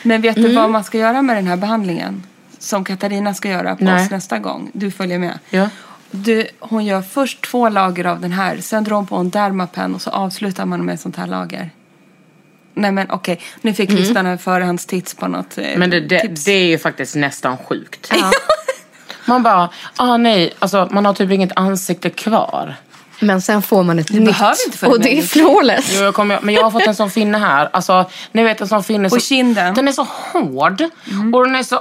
[SPEAKER 4] Men vet du vad man ska göra med den här behandlingen? Som Katarina ska göra på
[SPEAKER 5] Nej.
[SPEAKER 4] oss nästa gång. Du följer med.
[SPEAKER 5] Ja.
[SPEAKER 4] Du, hon gör först två lager av den här. Sen drar hon på en dermapen och så avslutar man med ett sånt här lager. Nej men okej, nu fick lyssnarna en förhandstips på något eh,
[SPEAKER 5] Mm. Men det, det,
[SPEAKER 4] tips.
[SPEAKER 5] det är ju faktiskt nästan sjukt. Man bara, ah nej, alltså man har typ inget ansikte kvar.
[SPEAKER 3] Men sen får man ett nytt.
[SPEAKER 4] behöver inte följa
[SPEAKER 3] och det
[SPEAKER 4] med.
[SPEAKER 3] är flawless.
[SPEAKER 5] Jo, jag kommer, men jag har fått en sån finne här. Alltså, ni vet en sån finne som...
[SPEAKER 4] På kinden.
[SPEAKER 5] Den är så hård.
[SPEAKER 3] Mm.
[SPEAKER 5] Och den är så...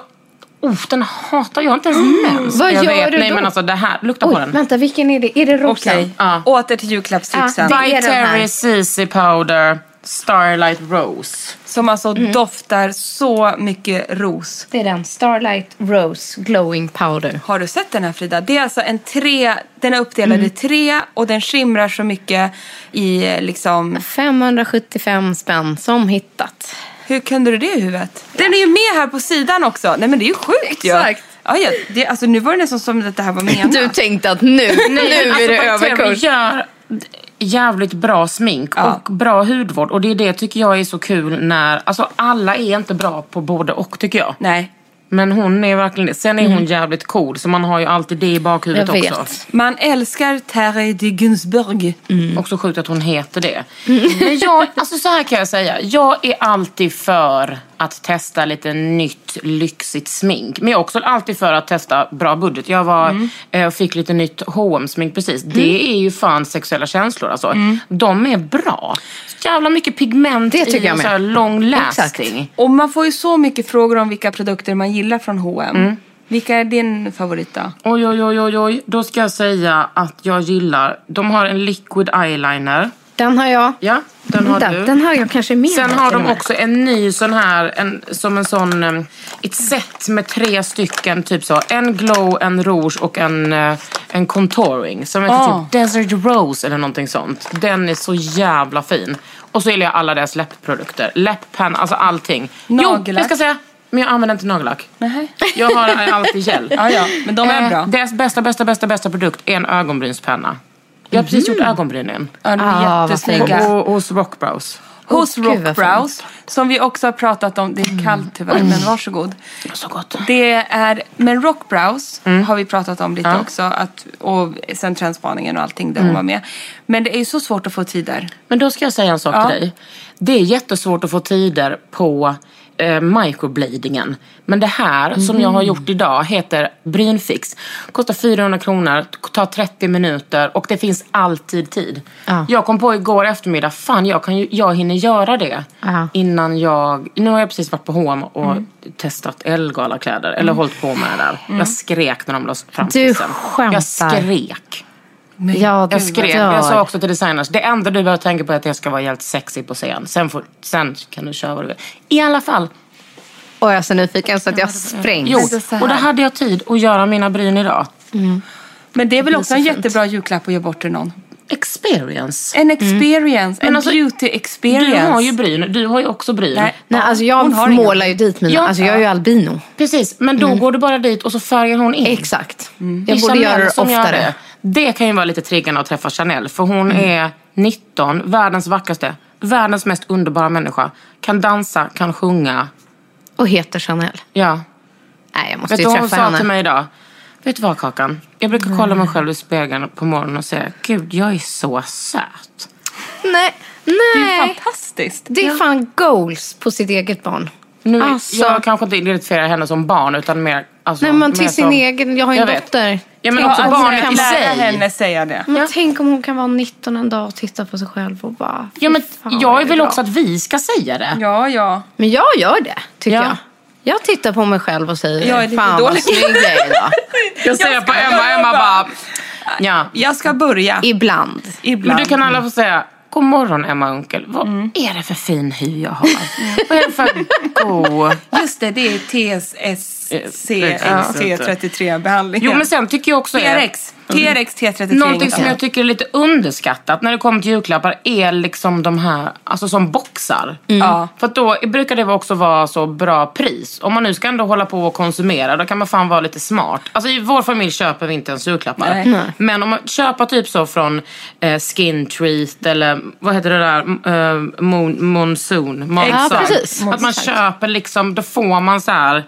[SPEAKER 5] Uff, den hatar jag. inte ens mens.
[SPEAKER 3] Vad
[SPEAKER 5] jag
[SPEAKER 3] gör
[SPEAKER 5] vet,
[SPEAKER 3] du
[SPEAKER 5] Nej
[SPEAKER 3] då?
[SPEAKER 5] men alltså det här, lukta på
[SPEAKER 3] Oj,
[SPEAKER 5] den.
[SPEAKER 3] vänta, vilken är det? Är det rosa?
[SPEAKER 4] Okej,
[SPEAKER 5] Ja.
[SPEAKER 4] åter till julklappstipsen.
[SPEAKER 3] Ja, det-
[SPEAKER 5] By
[SPEAKER 3] är den här.
[SPEAKER 5] Terry CC Powder Starlight Rose.
[SPEAKER 4] Som alltså
[SPEAKER 5] Mm.
[SPEAKER 4] doftar så mycket ros.
[SPEAKER 3] Det är den. Starlight Rose Glowing Powder.
[SPEAKER 4] Har du sett den här Frida? Det är alltså en tre, den är uppdelad
[SPEAKER 5] Mm.
[SPEAKER 4] i tre och den skimrar så mycket i eh, liksom...
[SPEAKER 3] 575 spänn som hittat.
[SPEAKER 4] Hur kunde du det i huvudet? Den är ju med här på sidan också. Nej men det är ju sjukt ju.
[SPEAKER 3] Exakt.
[SPEAKER 4] Ja, ja, det, alltså nu var det nästan som att det här var menat.
[SPEAKER 3] Du tänkte att nu, nu är det
[SPEAKER 5] By Terry
[SPEAKER 3] överkurs.
[SPEAKER 5] Alltså, gör jävligt bra smink
[SPEAKER 4] Ja.
[SPEAKER 5] och bra hudvård. Och det är det tycker jag är så kul när... Alltså alla är inte bra på både och tycker jag.
[SPEAKER 4] Nej.
[SPEAKER 5] Men hon är verkligen det. Sen är hon jävligt cool så man har ju alltid det i bakhuvudet
[SPEAKER 3] Mm. Jag vet.
[SPEAKER 5] också.
[SPEAKER 4] Man älskar Terry de Gunsberg.
[SPEAKER 3] Mm.
[SPEAKER 5] Också sjukt att hon heter det. Men jag, alltså så här kan jag säga. Jag är alltid för att testa lite nytt lyxigt smink. Men jag är också alltid för att testa bra budget. Jag var,
[SPEAKER 3] Mm.
[SPEAKER 5] eh, och fick lite nytt hm smink precis. Det är ju fan sexuella känslor alltså. De är bra. Så jävla mycket pigment
[SPEAKER 3] Mm. Det tycker
[SPEAKER 5] i
[SPEAKER 3] jag
[SPEAKER 5] och
[SPEAKER 3] med.
[SPEAKER 5] så här long lasting.
[SPEAKER 4] Och man får ju så mycket frågor om vilka produkter man gillar från H&M.
[SPEAKER 3] Mm.
[SPEAKER 4] Vilka är din favorit då?
[SPEAKER 5] Oj, oj, oj, oj, oj. Då ska jag säga att jag gillar... De har en liquid eyeliner.
[SPEAKER 3] Den har jag.
[SPEAKER 5] Ja, den har du.
[SPEAKER 3] Mm, Den, den har jag kanske med
[SPEAKER 5] Sen
[SPEAKER 3] mig
[SPEAKER 5] har
[SPEAKER 3] till
[SPEAKER 5] de
[SPEAKER 3] och med.
[SPEAKER 5] också en ny sån här, en, som en sån, em, ett set med tre stycken, typ så. En glow, en rouge och en, eh, en contouring. Som heter
[SPEAKER 4] Ah.
[SPEAKER 5] typ Desert Rose eller någonting sånt. Den är så jävla fin. Och så gillar jag alla deras läppprodukter. Läpppenna, alltså allting. Jo,
[SPEAKER 4] Nagellack.
[SPEAKER 5] jag ska säga. Men jag använder inte nagellack.
[SPEAKER 4] Nej.
[SPEAKER 5] Jag har alltid gel. Eh,
[SPEAKER 4] Ja, ja, men de
[SPEAKER 3] Eh,
[SPEAKER 4] är bra.
[SPEAKER 5] Deras bästa, bästa, bästa, bästa produkt är en ögonbrynspenna. Jag har precis
[SPEAKER 4] Mm.
[SPEAKER 5] gjort ögonbrynen.
[SPEAKER 4] Ja, de är
[SPEAKER 3] Ah, vad
[SPEAKER 4] jättesnygga.
[SPEAKER 5] Och, och hos Rockbrows.
[SPEAKER 4] Hos
[SPEAKER 3] Åh, gud, vad
[SPEAKER 4] Rockbrows, som vi också har pratat om. Det är kallt tyvärr,
[SPEAKER 3] Mm.
[SPEAKER 4] men varsågod.
[SPEAKER 5] Så gott.
[SPEAKER 4] Det är, men Rockbrows har vi pratat om lite också. Att, och sen trendspaningen och allting där hon var med. Men det är ju så svårt att få tider.
[SPEAKER 5] Men då ska jag säga en sak till dig. Det är jättesvårt att få tider på eh, microbladingen. Men det här som
[SPEAKER 3] Mm.
[SPEAKER 5] jag har gjort idag heter Brynfix. Kostar 400 kronor, tar 30 minuter och det finns alltid tid.
[SPEAKER 3] Ja.
[SPEAKER 5] Jag kom på igår eftermiddag, fan jag, kan ju, jag hinner göra det
[SPEAKER 3] Ja. Mm.
[SPEAKER 5] innan jag... Nu har jag precis varit på H&M och testat Elgala kläder. Eller hållit på med det där. Jag skrek när de lades fram.
[SPEAKER 3] Du
[SPEAKER 5] tipsen.
[SPEAKER 3] skämtar.
[SPEAKER 5] Jag skrek.
[SPEAKER 3] Ja, du
[SPEAKER 5] Jag skrev,
[SPEAKER 3] dör.
[SPEAKER 5] jag sa också till designers, det enda du behöver tänka på är att jag ska vara helt sexy på scen. Sen, får, sen kan du köra vad du vill. I alla fall.
[SPEAKER 3] Och jag är så nyfiken så att jag sprängs.
[SPEAKER 5] Jo,
[SPEAKER 4] så här.
[SPEAKER 5] och där hade jag tid att göra mina bryn idag.
[SPEAKER 4] Men det är väl också en jättebra julklapp att ge bort till någon. Mm.
[SPEAKER 5] Experience.
[SPEAKER 4] En experience, en
[SPEAKER 5] Men alltså,
[SPEAKER 4] beauty
[SPEAKER 5] Du
[SPEAKER 4] experience.
[SPEAKER 5] har ju bryn, du har ju också bryn.
[SPEAKER 4] Nej.
[SPEAKER 3] Nej, alltså
[SPEAKER 4] Hon har
[SPEAKER 3] jag
[SPEAKER 4] ingen.
[SPEAKER 3] målar ju dit mina.
[SPEAKER 5] Ja,
[SPEAKER 3] alltså jag är ju albino.
[SPEAKER 5] Precis, men då går du bara dit och så färgar hon in.
[SPEAKER 3] Exakt. Jag
[SPEAKER 5] I
[SPEAKER 3] borde
[SPEAKER 5] Chanel
[SPEAKER 3] göra det
[SPEAKER 5] som gör
[SPEAKER 3] oftare.
[SPEAKER 5] det. Det kan ju vara lite triggande att träffa Chanel för hon är 19, världens vackraste, världens mest underbara människa. Kan dansa, kan sjunga.
[SPEAKER 3] Och heter Chanel.
[SPEAKER 5] Ja.
[SPEAKER 3] Nej, jag måste
[SPEAKER 5] Vet du
[SPEAKER 3] ju
[SPEAKER 5] vad hon
[SPEAKER 3] träffa
[SPEAKER 5] sa
[SPEAKER 3] henne.
[SPEAKER 5] till mig idag? Vet du vad Kakan? Jag brukar kolla mig själv i spegeln på morgonen och säga, gud jag är så söt.
[SPEAKER 3] Nej,
[SPEAKER 4] Det är
[SPEAKER 3] nej.
[SPEAKER 4] fantastiskt.
[SPEAKER 3] Det är fan goals på sitt eget barn.
[SPEAKER 5] Nu,
[SPEAKER 3] Alltså.
[SPEAKER 5] Jag kanske inte identifierar henne som barn utan mer... Alltså,
[SPEAKER 3] Nej, men
[SPEAKER 5] mer
[SPEAKER 3] till sin
[SPEAKER 5] som-
[SPEAKER 3] egen. Jag har ju en
[SPEAKER 5] Jag vet.
[SPEAKER 3] dotter.
[SPEAKER 5] Ja, men
[SPEAKER 3] Tänk
[SPEAKER 5] också
[SPEAKER 3] om hon
[SPEAKER 5] barnet
[SPEAKER 3] kan
[SPEAKER 5] i
[SPEAKER 3] vara-
[SPEAKER 5] sig.
[SPEAKER 4] alltså Lära henne säga det.
[SPEAKER 3] Men tänk om hon kan vara 19 en dag och titta på sig själv och bara...
[SPEAKER 5] Ja, men
[SPEAKER 3] "Fy fan, vad
[SPEAKER 5] jag
[SPEAKER 3] är
[SPEAKER 5] vill
[SPEAKER 3] bra."
[SPEAKER 5] också att vi ska säga det.
[SPEAKER 4] Ja, ja.
[SPEAKER 3] Men jag gör det, tycker
[SPEAKER 5] Ja.
[SPEAKER 3] jag. Jag tittar på mig själv och säger
[SPEAKER 4] Jag är lite
[SPEAKER 3] fan vad
[SPEAKER 4] dålig."
[SPEAKER 3] snygg jag är idag.
[SPEAKER 5] Jag ser
[SPEAKER 4] Jag
[SPEAKER 5] på
[SPEAKER 4] ska
[SPEAKER 5] Emma,
[SPEAKER 4] göra
[SPEAKER 5] Emma
[SPEAKER 4] bara-
[SPEAKER 5] bara... Ja.
[SPEAKER 4] Jag ska börja.
[SPEAKER 3] Ibland.
[SPEAKER 5] Men
[SPEAKER 4] Ibland.
[SPEAKER 5] du kan alla få säga, god morgon Emma Unkel. Vad
[SPEAKER 3] Mm.
[SPEAKER 5] är det för fin hy jag har? Vad är det för god...
[SPEAKER 4] Just det, det är
[SPEAKER 5] Ja.
[SPEAKER 4] TSSC33-behandlingen.
[SPEAKER 5] Jo men sen tycker jag också... är-
[SPEAKER 4] TRX. TRX T33.
[SPEAKER 5] Någonting som jag tycker är lite underskattat när det kommer till julklappar är liksom de här, alltså som boxar.
[SPEAKER 3] Mm.
[SPEAKER 4] Ja.
[SPEAKER 5] För att då brukar det också vara så bra pris. Om man nu ska ändå hålla på och konsumera, då kan man fan vara lite smart. Alltså i vår familj köper vi inte ens julklappar.
[SPEAKER 4] Nej. Nej.
[SPEAKER 5] Men om man köper typ så från eh, Skin Treat eller vad heter det där, M- eh, moon, Monsoon, Monsoon.
[SPEAKER 3] precis.
[SPEAKER 5] Att man köper liksom, då får man så här,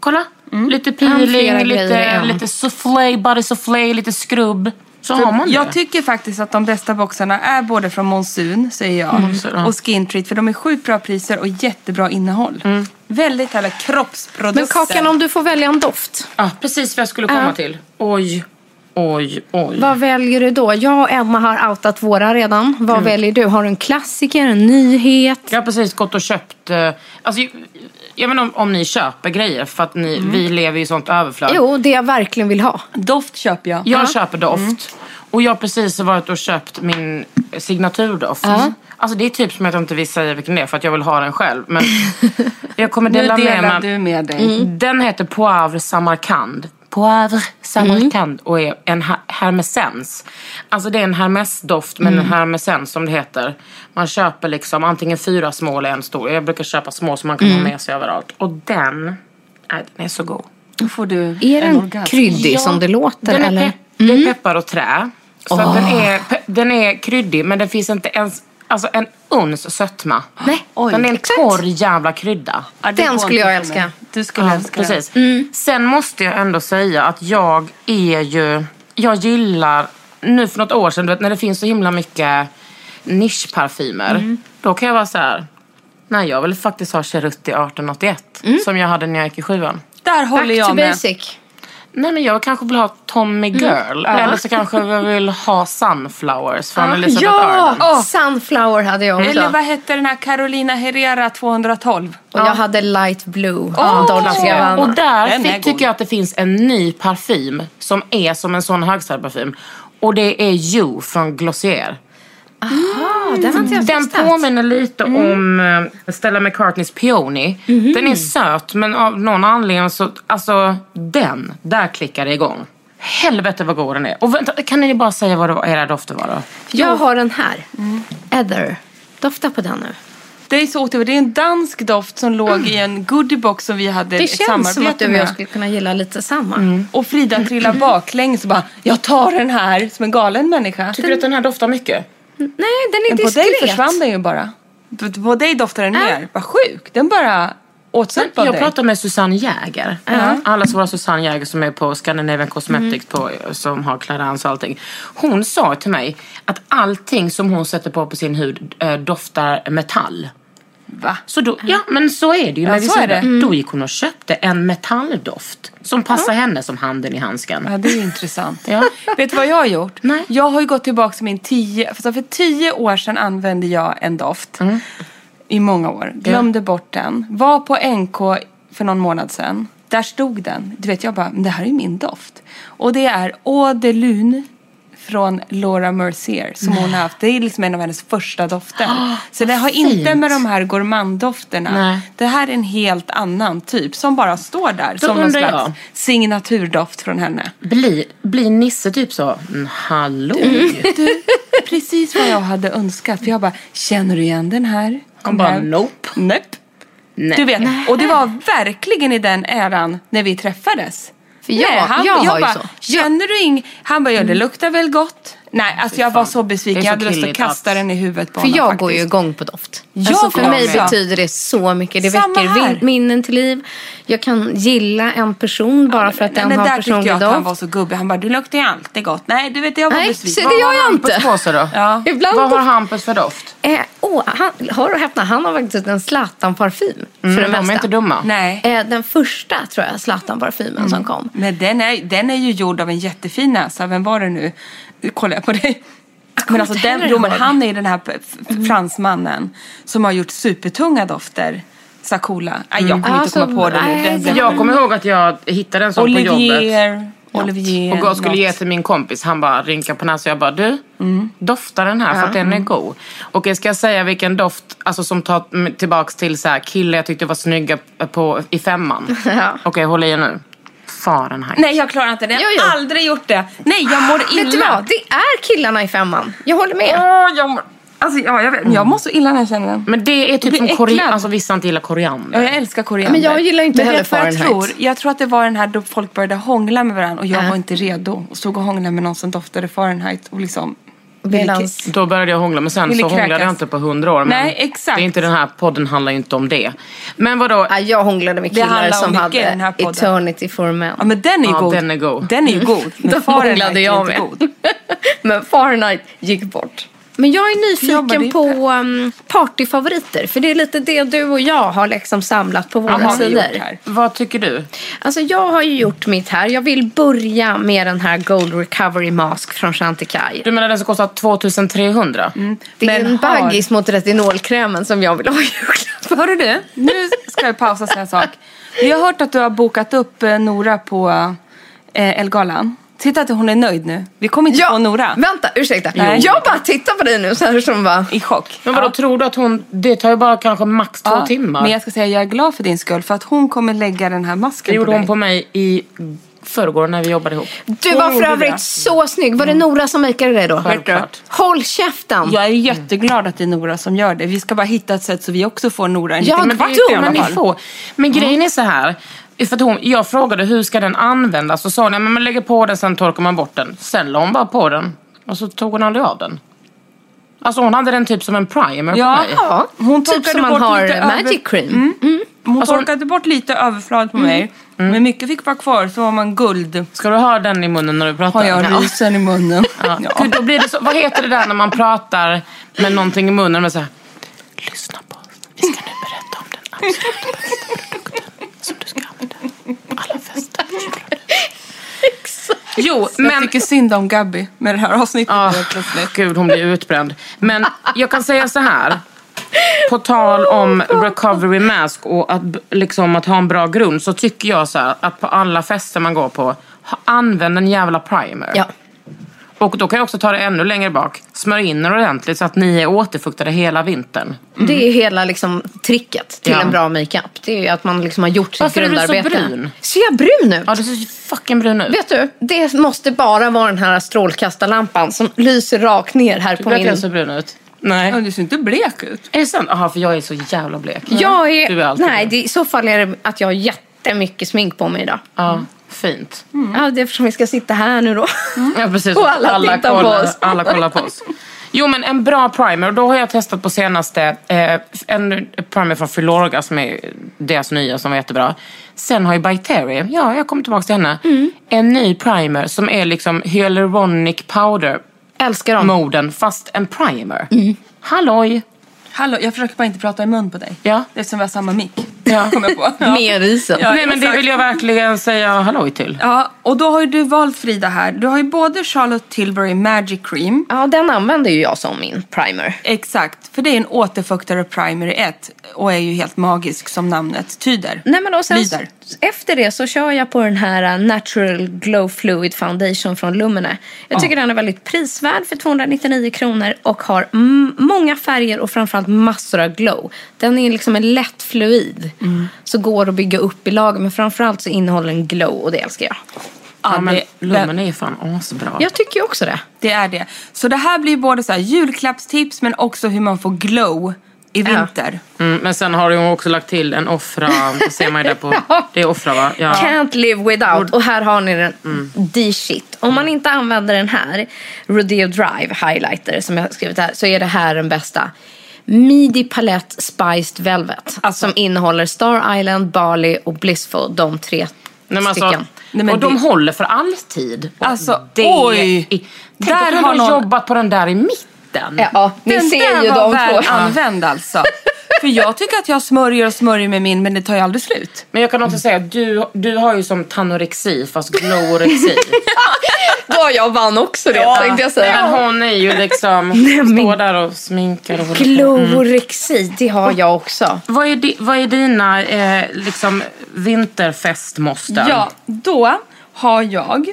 [SPEAKER 5] kolla, lite
[SPEAKER 3] Mm. flera
[SPEAKER 5] peeling,
[SPEAKER 3] grejer i
[SPEAKER 5] lite,
[SPEAKER 3] en.
[SPEAKER 5] lite soufflé, body soufflé, lite skrubb. Så har man det.
[SPEAKER 4] Typ, Jag tycker faktiskt att de bästa boxarna är både från Monsun, säger jag,
[SPEAKER 3] Mm,
[SPEAKER 5] ja.
[SPEAKER 4] och Skin Treat. För de är sjukt bra priser och jättebra innehåll. Väldigt härliga kroppsprodukter.
[SPEAKER 3] Mm. Men Kakan, om du får välja en doft,
[SPEAKER 5] Ja, precis vad jag skulle komma
[SPEAKER 3] Ja.
[SPEAKER 5] till. Oj, oj, oj.
[SPEAKER 3] vad väljer du då? Jag och Emma har outat våra redan. Vad väljer du? Har du en klassiker, en nyhet?
[SPEAKER 5] Jag har precis gått och köpt... eh, Alltså, jag- jag menar om, om ni köper grejer, för att ni, vi lever i sånt överflöd.
[SPEAKER 3] Jo, det jag verkligen vill ha.
[SPEAKER 4] Doft köper jag.
[SPEAKER 5] Jag köper doft. Och jag har precis varit och köpt min signaturdoft. Alltså det är typ som att jag inte vill säga vilken det är för att jag vill ha den själv. Men jag kommer
[SPEAKER 4] Nu
[SPEAKER 5] dela med
[SPEAKER 4] delar
[SPEAKER 5] mig.
[SPEAKER 4] du med dig.
[SPEAKER 3] Mm.
[SPEAKER 5] Den heter Poivre Samarkand. Poivre
[SPEAKER 3] Mm.
[SPEAKER 5] Samarkand och är en ha- hermesens. Alltså det är en hermesdoft men
[SPEAKER 3] Mm.
[SPEAKER 5] en hermesens som det heter. Man köper liksom antingen fyra små eller en stor. Jag brukar köpa små som man kan
[SPEAKER 3] Mm.
[SPEAKER 5] ha med sig överallt. Och den, nej, den är så god.
[SPEAKER 4] Då får du
[SPEAKER 3] Är den
[SPEAKER 4] orgasm.
[SPEAKER 3] kryddig
[SPEAKER 5] Oh Ja,
[SPEAKER 3] som det låter?
[SPEAKER 5] Den är,
[SPEAKER 3] eller? Mm.
[SPEAKER 5] pepp, det är peppar och trä. Så att den, är, pe- den är kryddig men det finns inte ens alltså en uns sötma.
[SPEAKER 3] Nej,
[SPEAKER 5] den är en
[SPEAKER 3] exakt.
[SPEAKER 5] torr jävla krydda.
[SPEAKER 4] Ja, det
[SPEAKER 3] Den
[SPEAKER 4] går
[SPEAKER 3] skulle
[SPEAKER 4] inte
[SPEAKER 3] jag
[SPEAKER 4] för mig.
[SPEAKER 3] älska.
[SPEAKER 4] Du skulle
[SPEAKER 5] Ja,
[SPEAKER 4] älska den.
[SPEAKER 5] precis. Sen måste jag ändå säga att jag är ju... Jag gillar... Nu för något år sedan, du vet, när det finns så himla mycket nischparfymer.
[SPEAKER 4] Mm.
[SPEAKER 5] Då kan jag vara så här... Nej, jag vill faktiskt ha Cherutti 1881.
[SPEAKER 4] Mm.
[SPEAKER 5] Som jag hade när jag gick i sjuan.
[SPEAKER 4] Där håller
[SPEAKER 3] Back to
[SPEAKER 4] jag med.
[SPEAKER 3] basic.
[SPEAKER 5] Nej, men jag kanske vill ha Tommy
[SPEAKER 4] Mm.
[SPEAKER 5] Girl. Eller så kanske jag vill ha Sunflowers
[SPEAKER 4] Ah,
[SPEAKER 5] från Elizabeth
[SPEAKER 3] Ja!
[SPEAKER 5] Arden.
[SPEAKER 3] Sunflower hade jag också.
[SPEAKER 4] Eller vad hette den här Carolina Herrera 212?
[SPEAKER 3] Och jag hade light blue av Dolce Gabbana.
[SPEAKER 5] Och där
[SPEAKER 4] Den är
[SPEAKER 5] fick,
[SPEAKER 4] god.
[SPEAKER 5] tycker jag att det finns en ny parfym som är som en sån högstadieparfym. Och det är You från Glossier.
[SPEAKER 3] Ja, den har inte jag
[SPEAKER 5] Den
[SPEAKER 3] testat.
[SPEAKER 5] påminner lite om eh, Stella McCartneys Peony. Den är söt men av någon anledning så, alltså den, där klickar det igång. Helvete vad god den är. Och vänta, kan ni bara säga vad det var, era dofter var då?
[SPEAKER 3] Jag har den här. Ether. Dofta på den nu.
[SPEAKER 4] Mm. Det är så otroligt. Det är en dansk doft som låg i en goodiebox som vi hade
[SPEAKER 3] Det
[SPEAKER 4] ett
[SPEAKER 3] känns
[SPEAKER 4] samarbete
[SPEAKER 3] som att du och
[SPEAKER 4] med. Mm.
[SPEAKER 3] jag skulle kunna gilla lite samma.
[SPEAKER 4] Och Frida trillar baklänges och bara “Jag tar den här” som en galen människa.
[SPEAKER 5] Tycker du att den här doftar mycket?
[SPEAKER 3] Nej, den är
[SPEAKER 4] Men på dig
[SPEAKER 3] diskret.
[SPEAKER 4] försvann den ju bara. På- På dig doftar den ner. Vad sjuk. Den bara åts upp av
[SPEAKER 5] Äh? Jag
[SPEAKER 4] dig.
[SPEAKER 5] pratade med Susanne Jäger. Allas våra Susanne Jäger som är på Scandinavian Cosmetics på, som har Clarence och allting. Hon sa till mig att allting som hon sätter på på sin hud eh, doftar metall.
[SPEAKER 4] Va?
[SPEAKER 5] Så då, ja men så är det ju. när vi
[SPEAKER 4] så
[SPEAKER 5] säger
[SPEAKER 4] är det.
[SPEAKER 5] det.
[SPEAKER 3] Mm.
[SPEAKER 5] Då gick hon och köpte en metalldoft som passar henne som handen i handsken.
[SPEAKER 4] Ja, det är ju intressant.
[SPEAKER 5] Ja.
[SPEAKER 4] Vet du vad jag har gjort?
[SPEAKER 5] Nej.
[SPEAKER 4] Jag har ju gått tillbaka till min tio... För, för tio år sedan använde jag en doft.
[SPEAKER 5] Mm.
[SPEAKER 4] I många år. Glömde bort den. Var på NK för någon månad sedan. Där stod den. Du vet, jag bara, men det här är ju min doft. Och det är Eau de Lune från Laura Mercier som hon har haft. Det är liksom en av hennes första dofter. Så det har inte
[SPEAKER 5] Ah, fint.
[SPEAKER 4] med de här gourmanddofterna.
[SPEAKER 5] Nej.
[SPEAKER 4] Det här är en helt annan typ som bara står där
[SPEAKER 5] Då
[SPEAKER 4] som någon
[SPEAKER 5] undrar
[SPEAKER 4] slags
[SPEAKER 5] jag.
[SPEAKER 4] signaturdoft från henne.
[SPEAKER 5] Blir bli Nisse typ så, mm, hallå?
[SPEAKER 3] Mm.
[SPEAKER 4] precis vad jag hade önskat. För jag bara, känner du igen den här?
[SPEAKER 5] Han bara,
[SPEAKER 4] hem.
[SPEAKER 5] nope.
[SPEAKER 4] Nope.
[SPEAKER 5] Nej.
[SPEAKER 4] Du vet, och det var verkligen i den äran när vi träffades.
[SPEAKER 3] För jag- Mm. jag har ju
[SPEAKER 4] bara,
[SPEAKER 3] så.
[SPEAKER 4] känner du ing... Han bara, ja det luktar väl gott. Nej, alltså jag var så
[SPEAKER 5] Det är
[SPEAKER 4] besviken.
[SPEAKER 5] så
[SPEAKER 4] Jag hade lust att
[SPEAKER 5] killigt att-
[SPEAKER 4] kasta den i huvudet på
[SPEAKER 3] För
[SPEAKER 4] honom
[SPEAKER 3] jag
[SPEAKER 4] faktiskt.
[SPEAKER 3] går ju igång på doft.
[SPEAKER 4] Jag
[SPEAKER 3] alltså för
[SPEAKER 4] går
[SPEAKER 3] mig
[SPEAKER 4] med.
[SPEAKER 3] betyder det så mycket. Det
[SPEAKER 4] Samma
[SPEAKER 3] väcker
[SPEAKER 4] här.
[SPEAKER 3] vin- minnen till liv. Jag kan gilla en person bara för att den
[SPEAKER 4] Men det
[SPEAKER 3] har
[SPEAKER 4] där tyckte
[SPEAKER 3] personlig
[SPEAKER 4] jag
[SPEAKER 3] doft.
[SPEAKER 4] att han var så gubbig. Han bara, du luktar ju alltid gott. Nej, du vet jag var
[SPEAKER 3] Nej,
[SPEAKER 4] besviken.
[SPEAKER 3] så det gör jag inte.
[SPEAKER 5] Hampus på sig då?
[SPEAKER 4] Ja.
[SPEAKER 3] Ibland
[SPEAKER 5] Vad har Hampus för doft?
[SPEAKER 3] Eh, åh, han, hör och häpna, han har faktiskt en Zlatan-parfym.
[SPEAKER 4] Mm,
[SPEAKER 3] för det
[SPEAKER 5] Mm. de
[SPEAKER 3] mesta.
[SPEAKER 5] är inte dumma.
[SPEAKER 4] Nej. Mm.
[SPEAKER 3] Eh, den första tror jag, Zlatan-parfymen som kom.
[SPEAKER 4] Men den är, den är ju gjord av en jättefin näsa. Vem var det nu? Nu kollar jag på dig. Men
[SPEAKER 3] kommer
[SPEAKER 4] alltså
[SPEAKER 3] inte
[SPEAKER 4] den,
[SPEAKER 3] heller
[SPEAKER 4] jo, men
[SPEAKER 3] ihåg. Mm.
[SPEAKER 4] han är ju den här f- f- fransmannen som har gjort supertunga dofter. Så här coola. Nej, jag kommer
[SPEAKER 3] Alltså,
[SPEAKER 4] inte komma på det nu.
[SPEAKER 3] nej,
[SPEAKER 4] Den, den,
[SPEAKER 5] Jag kommer ihåg att jag hittade en sån på jobbet.
[SPEAKER 4] Olivier. Olivier.
[SPEAKER 5] Och jag skulle
[SPEAKER 4] något.
[SPEAKER 5] ge till min kompis, han bara rynkade på näsan. Jag bara, du, dofta den här för att
[SPEAKER 4] Mm.
[SPEAKER 5] den är god. Och jag ska säga vilken doft, alltså som tar m- tillbaks till så här, killar jag tyckte var snygga på, i femman.
[SPEAKER 3] Ja.
[SPEAKER 5] Okej, håll i er nu. Fahrenheit.
[SPEAKER 4] Nej, jag klarar inte det.
[SPEAKER 3] Jo,
[SPEAKER 4] Jag
[SPEAKER 3] jo.
[SPEAKER 4] har aldrig gjort det. Nej, jag mår illa.
[SPEAKER 3] Vet du vad? Det är killarna i femman. Jag håller med.
[SPEAKER 4] Åh, jag mår... Alltså, ja, jag, vet, jag mår så illa när jag känner den.
[SPEAKER 5] Men det är typ
[SPEAKER 4] blir
[SPEAKER 5] som koriander,
[SPEAKER 4] äcklad.
[SPEAKER 5] alltså vissa inte gillar koriander.
[SPEAKER 4] Ja, jag älskar koriander.
[SPEAKER 3] Men jag gillar ju inte heller
[SPEAKER 4] vet du vad jag tror?
[SPEAKER 3] Fahrenheit.
[SPEAKER 4] Jag tror att det var den här då folk började hångla med varandra och jag
[SPEAKER 3] Äh.
[SPEAKER 4] var inte redo. Och stod och hånglade med någon som doftade Fahrenheit och liksom...
[SPEAKER 3] Medans-
[SPEAKER 4] ki-
[SPEAKER 5] Då började jag hångla, men sen
[SPEAKER 4] Ville
[SPEAKER 5] så hånglade
[SPEAKER 4] kräkas.
[SPEAKER 5] jag inte på hundra år. Men
[SPEAKER 4] Nej, exakt.
[SPEAKER 5] Det är inte den här podden handlar ju inte om det. Men vadå?
[SPEAKER 3] Ja, jag hånglade med
[SPEAKER 4] Det handlar
[SPEAKER 3] killar
[SPEAKER 4] om
[SPEAKER 3] som
[SPEAKER 4] mycket i den här
[SPEAKER 3] hade
[SPEAKER 4] podden.
[SPEAKER 3] Eternity for Men.
[SPEAKER 4] Ja, men den är ju
[SPEAKER 5] Ja,
[SPEAKER 4] god.
[SPEAKER 5] den är god.
[SPEAKER 4] Den är ju god. Men
[SPEAKER 3] Då
[SPEAKER 4] Fahrenheit
[SPEAKER 3] hånglade
[SPEAKER 4] är
[SPEAKER 3] jag
[SPEAKER 4] inte
[SPEAKER 3] med.
[SPEAKER 4] god.
[SPEAKER 3] Men Fahrenheit gick bort. Men jag är
[SPEAKER 4] Jobbar du
[SPEAKER 3] nyfiken
[SPEAKER 4] inte?
[SPEAKER 3] på um, partyfavoriter. För det är lite det du och jag har liksom samlat på våra
[SPEAKER 4] Vad har vi
[SPEAKER 3] sidor.
[SPEAKER 4] gjort här?
[SPEAKER 5] Vad tycker du?
[SPEAKER 3] Alltså jag har ju gjort mitt här. Jag vill börja med den här Gold Recovery Mask från Chantecaille.
[SPEAKER 5] Du menar den som kostar 2300? Mm.
[SPEAKER 3] Det är
[SPEAKER 4] Men
[SPEAKER 3] en
[SPEAKER 4] har-
[SPEAKER 3] baggis mot retinolkrämen som jag vill ha i julklapp.
[SPEAKER 4] Hörru du, nu ska jag pausa och säga en sak. Jag har hört att du har bokat upp eh, Nora på eh, Elgalan. Titta att hon är nöjd nu. Vi kommer inte få Nora.
[SPEAKER 3] Vänta, ursäkta.
[SPEAKER 4] Nej.
[SPEAKER 3] Jag bara tittar på dig nu så här som bara...
[SPEAKER 4] I chock.
[SPEAKER 5] Men vadå, tror du att hon... Det tar ju bara kanske max två
[SPEAKER 4] Ja,
[SPEAKER 5] timmar.
[SPEAKER 4] Men jag ska säga jag är glad för din skull för att hon kommer lägga den här
[SPEAKER 5] Det
[SPEAKER 4] masken på
[SPEAKER 5] gjorde
[SPEAKER 4] dig.
[SPEAKER 5] hon på mig i förrgår när vi jobbade ihop.
[SPEAKER 3] Du var för
[SPEAKER 4] gjorde det.
[SPEAKER 3] övrigt så snygg. Var det Nora som makeade dig då?
[SPEAKER 5] Självklart.
[SPEAKER 3] Håll käften!
[SPEAKER 4] Jag är jätteglad att det är Nora som gör det. Vi ska bara hitta ett sätt så vi också får Nora en
[SPEAKER 3] Ja,
[SPEAKER 4] liten
[SPEAKER 5] men det
[SPEAKER 4] kvart
[SPEAKER 5] är
[SPEAKER 4] i alla
[SPEAKER 5] men ni
[SPEAKER 4] fall.
[SPEAKER 5] får. Men grejen är så här. För att hon, jag frågade hur ska den användas och sa hon, "Ja, men man lägger på den sen torkar man bort den. Sen la hon bara på den och så tog hon aldrig av den. Alltså hon hade den typ som en primer
[SPEAKER 4] Ja.
[SPEAKER 5] på mig.
[SPEAKER 3] Ja,
[SPEAKER 4] Hon
[SPEAKER 3] typ
[SPEAKER 4] torkade
[SPEAKER 3] som man
[SPEAKER 4] bort
[SPEAKER 3] har
[SPEAKER 4] lite över- Mm.
[SPEAKER 3] Magic Cream.
[SPEAKER 4] Hon
[SPEAKER 5] Alltså-
[SPEAKER 4] torkade bort lite överflöd på mig. Men mycket fick vara kvar så har man guld.
[SPEAKER 5] Ska du ha den i munnen när du pratar?
[SPEAKER 4] Har jag
[SPEAKER 5] Ja.
[SPEAKER 4] rysen i munnen.
[SPEAKER 5] Ja. Gud, då blir det så, vad heter det där när man pratar med någonting i munnen? Men så här, Lyssna på oss. Vi ska nu berätta om den absolut bästa produkten som du ska använda på alla fester. Jo,
[SPEAKER 4] Men... Jag
[SPEAKER 5] men
[SPEAKER 4] tycker synd om Gabby med det här avsnittet
[SPEAKER 5] Ah,
[SPEAKER 4] helt plötsligt.
[SPEAKER 5] Gud, hon blir utbränd. Men jag kan säga så här. På tal om recovery mask och att, b- liksom, att ha en bra grund så tycker jag så här, att på alla fester man går på, ha- använd en jävla primer.
[SPEAKER 3] Ja.
[SPEAKER 5] Och då kan jag också ta det ännu längre bak. Smörj in er ordentligt så att ni är återfuktade hela vintern.
[SPEAKER 3] Det är hela liksom, tricket till
[SPEAKER 5] mm. Ja.
[SPEAKER 3] en bra makeup. Det är ju att man liksom har gjort sitt
[SPEAKER 5] Varför är du så
[SPEAKER 3] grundarbete.
[SPEAKER 5] brun?
[SPEAKER 3] Ser jag brun ut?
[SPEAKER 5] Ja, du ser ju fucking brun ut.
[SPEAKER 3] Vet du, det måste bara vara den här strålkastarlampan som lyser rakt ner här
[SPEAKER 5] du
[SPEAKER 3] på
[SPEAKER 5] vet att jag
[SPEAKER 3] min...
[SPEAKER 5] ser brun ut?
[SPEAKER 4] Ja,
[SPEAKER 5] Nej.
[SPEAKER 4] Du ser inte blek ut.
[SPEAKER 5] Är det sant? Jaha, för jag är så jävla blek.
[SPEAKER 3] Jag
[SPEAKER 5] Du
[SPEAKER 3] är...
[SPEAKER 5] är alltid
[SPEAKER 3] Nej,
[SPEAKER 5] brun.
[SPEAKER 3] det, i så fall är det att jag har jättemycket smink på mig idag.
[SPEAKER 5] Ja, fint.
[SPEAKER 3] Ja, det är eftersom vi ska sitta här nu då.
[SPEAKER 5] Mm. Ja, precis.
[SPEAKER 3] Och alla tittar på
[SPEAKER 5] kollar,
[SPEAKER 3] oss.
[SPEAKER 5] Alla kollar på oss. Jo men en bra primer, och då har jag testat på senaste, eh, en primer från Filorga som är deras nya som var jättebra. Sen har ju By Terry, ja jag kommer tillbaka till henne,
[SPEAKER 3] Mm.
[SPEAKER 5] en ny primer som är liksom hyaluronic powder
[SPEAKER 3] Älskar dem.
[SPEAKER 5] moden fast en primer.
[SPEAKER 3] Mm.
[SPEAKER 5] Halloj!
[SPEAKER 4] Hallå, jag försöker bara inte prata i mun på dig.
[SPEAKER 5] Ja.
[SPEAKER 4] Eftersom vi har samma mick. Ja. Kommer jag på. Ja.
[SPEAKER 3] Mer isen.
[SPEAKER 4] Ja,
[SPEAKER 5] Nej men det
[SPEAKER 4] exakt.
[SPEAKER 5] vill jag verkligen säga halloj till.
[SPEAKER 4] Ja, och då har ju du valt Frida här. Du har ju både Charlotte Tilbury Magic Cream.
[SPEAKER 3] Ja, den använder ju jag som min primer.
[SPEAKER 4] Exakt, för det är en återfuktare och primer i ett och är ju helt magisk som namnet tyder.
[SPEAKER 3] Nej, men och sen,
[SPEAKER 4] Lyder.
[SPEAKER 3] efter det så kör jag på den här uh, Natural Glow Fluid Foundation från Lumene. Jag tycker den är väldigt prisvärd för 299 kronor och har m- många färger och framförallt massor av glow. Den är liksom en lätt fluid så går att bygga upp i lager men framförallt så innehåller den glow och det älskar jag.
[SPEAKER 4] Ja,
[SPEAKER 5] Ja, men
[SPEAKER 4] det-
[SPEAKER 5] Lummen är ju fan asbra.
[SPEAKER 3] Jag tycker ju också det.
[SPEAKER 4] Det är det. Så det här blir både så här julklappstips men också hur man får glow i vinter.
[SPEAKER 5] Mm, men sen har hon också lagt till en offra. Det ser man ju där på...
[SPEAKER 3] Ja.
[SPEAKER 5] Det är offra va? Ja.
[SPEAKER 3] Can't live without. Och här har ni den. The shit. Om man inte använder den här, Rodeo Drive highlighter som jag har skrivit här, så är det här den bästa. Midi Palette Spiced Velvet.
[SPEAKER 4] Alltså-
[SPEAKER 3] Som innehåller Star Island, Bali och Blissful. De tre
[SPEAKER 5] Nej, men alltså,
[SPEAKER 3] stycken.
[SPEAKER 4] Nej, men
[SPEAKER 5] och de
[SPEAKER 4] det-
[SPEAKER 5] håller för alltid. Och
[SPEAKER 4] Alltså,
[SPEAKER 5] det
[SPEAKER 4] oj.
[SPEAKER 5] Är, tänk
[SPEAKER 4] Där
[SPEAKER 5] om hon
[SPEAKER 4] har
[SPEAKER 5] har
[SPEAKER 4] någon-
[SPEAKER 5] jobbat på den där i mitten.
[SPEAKER 3] Ja, ja, ni
[SPEAKER 4] Den
[SPEAKER 3] ser
[SPEAKER 4] där
[SPEAKER 3] ju
[SPEAKER 4] var
[SPEAKER 3] de
[SPEAKER 4] väl
[SPEAKER 3] två.
[SPEAKER 4] använd alltså. För jag tycker att jag smörjer och smörjer med min men det tar ju aldrig slut.
[SPEAKER 5] Men jag kan också säga att du, du har ju som tanorexi fast gloworexi.
[SPEAKER 3] Då har jag vann också det tänkte jag säga.
[SPEAKER 5] Nej, men hon är ju liksom,
[SPEAKER 3] men-
[SPEAKER 5] står där och sminkar och håller på.
[SPEAKER 3] Glorexi, det har jag också.
[SPEAKER 5] Vad är, di, vad är dina eh, liksom, vinterfestmåsten?
[SPEAKER 4] Ja, då har jag...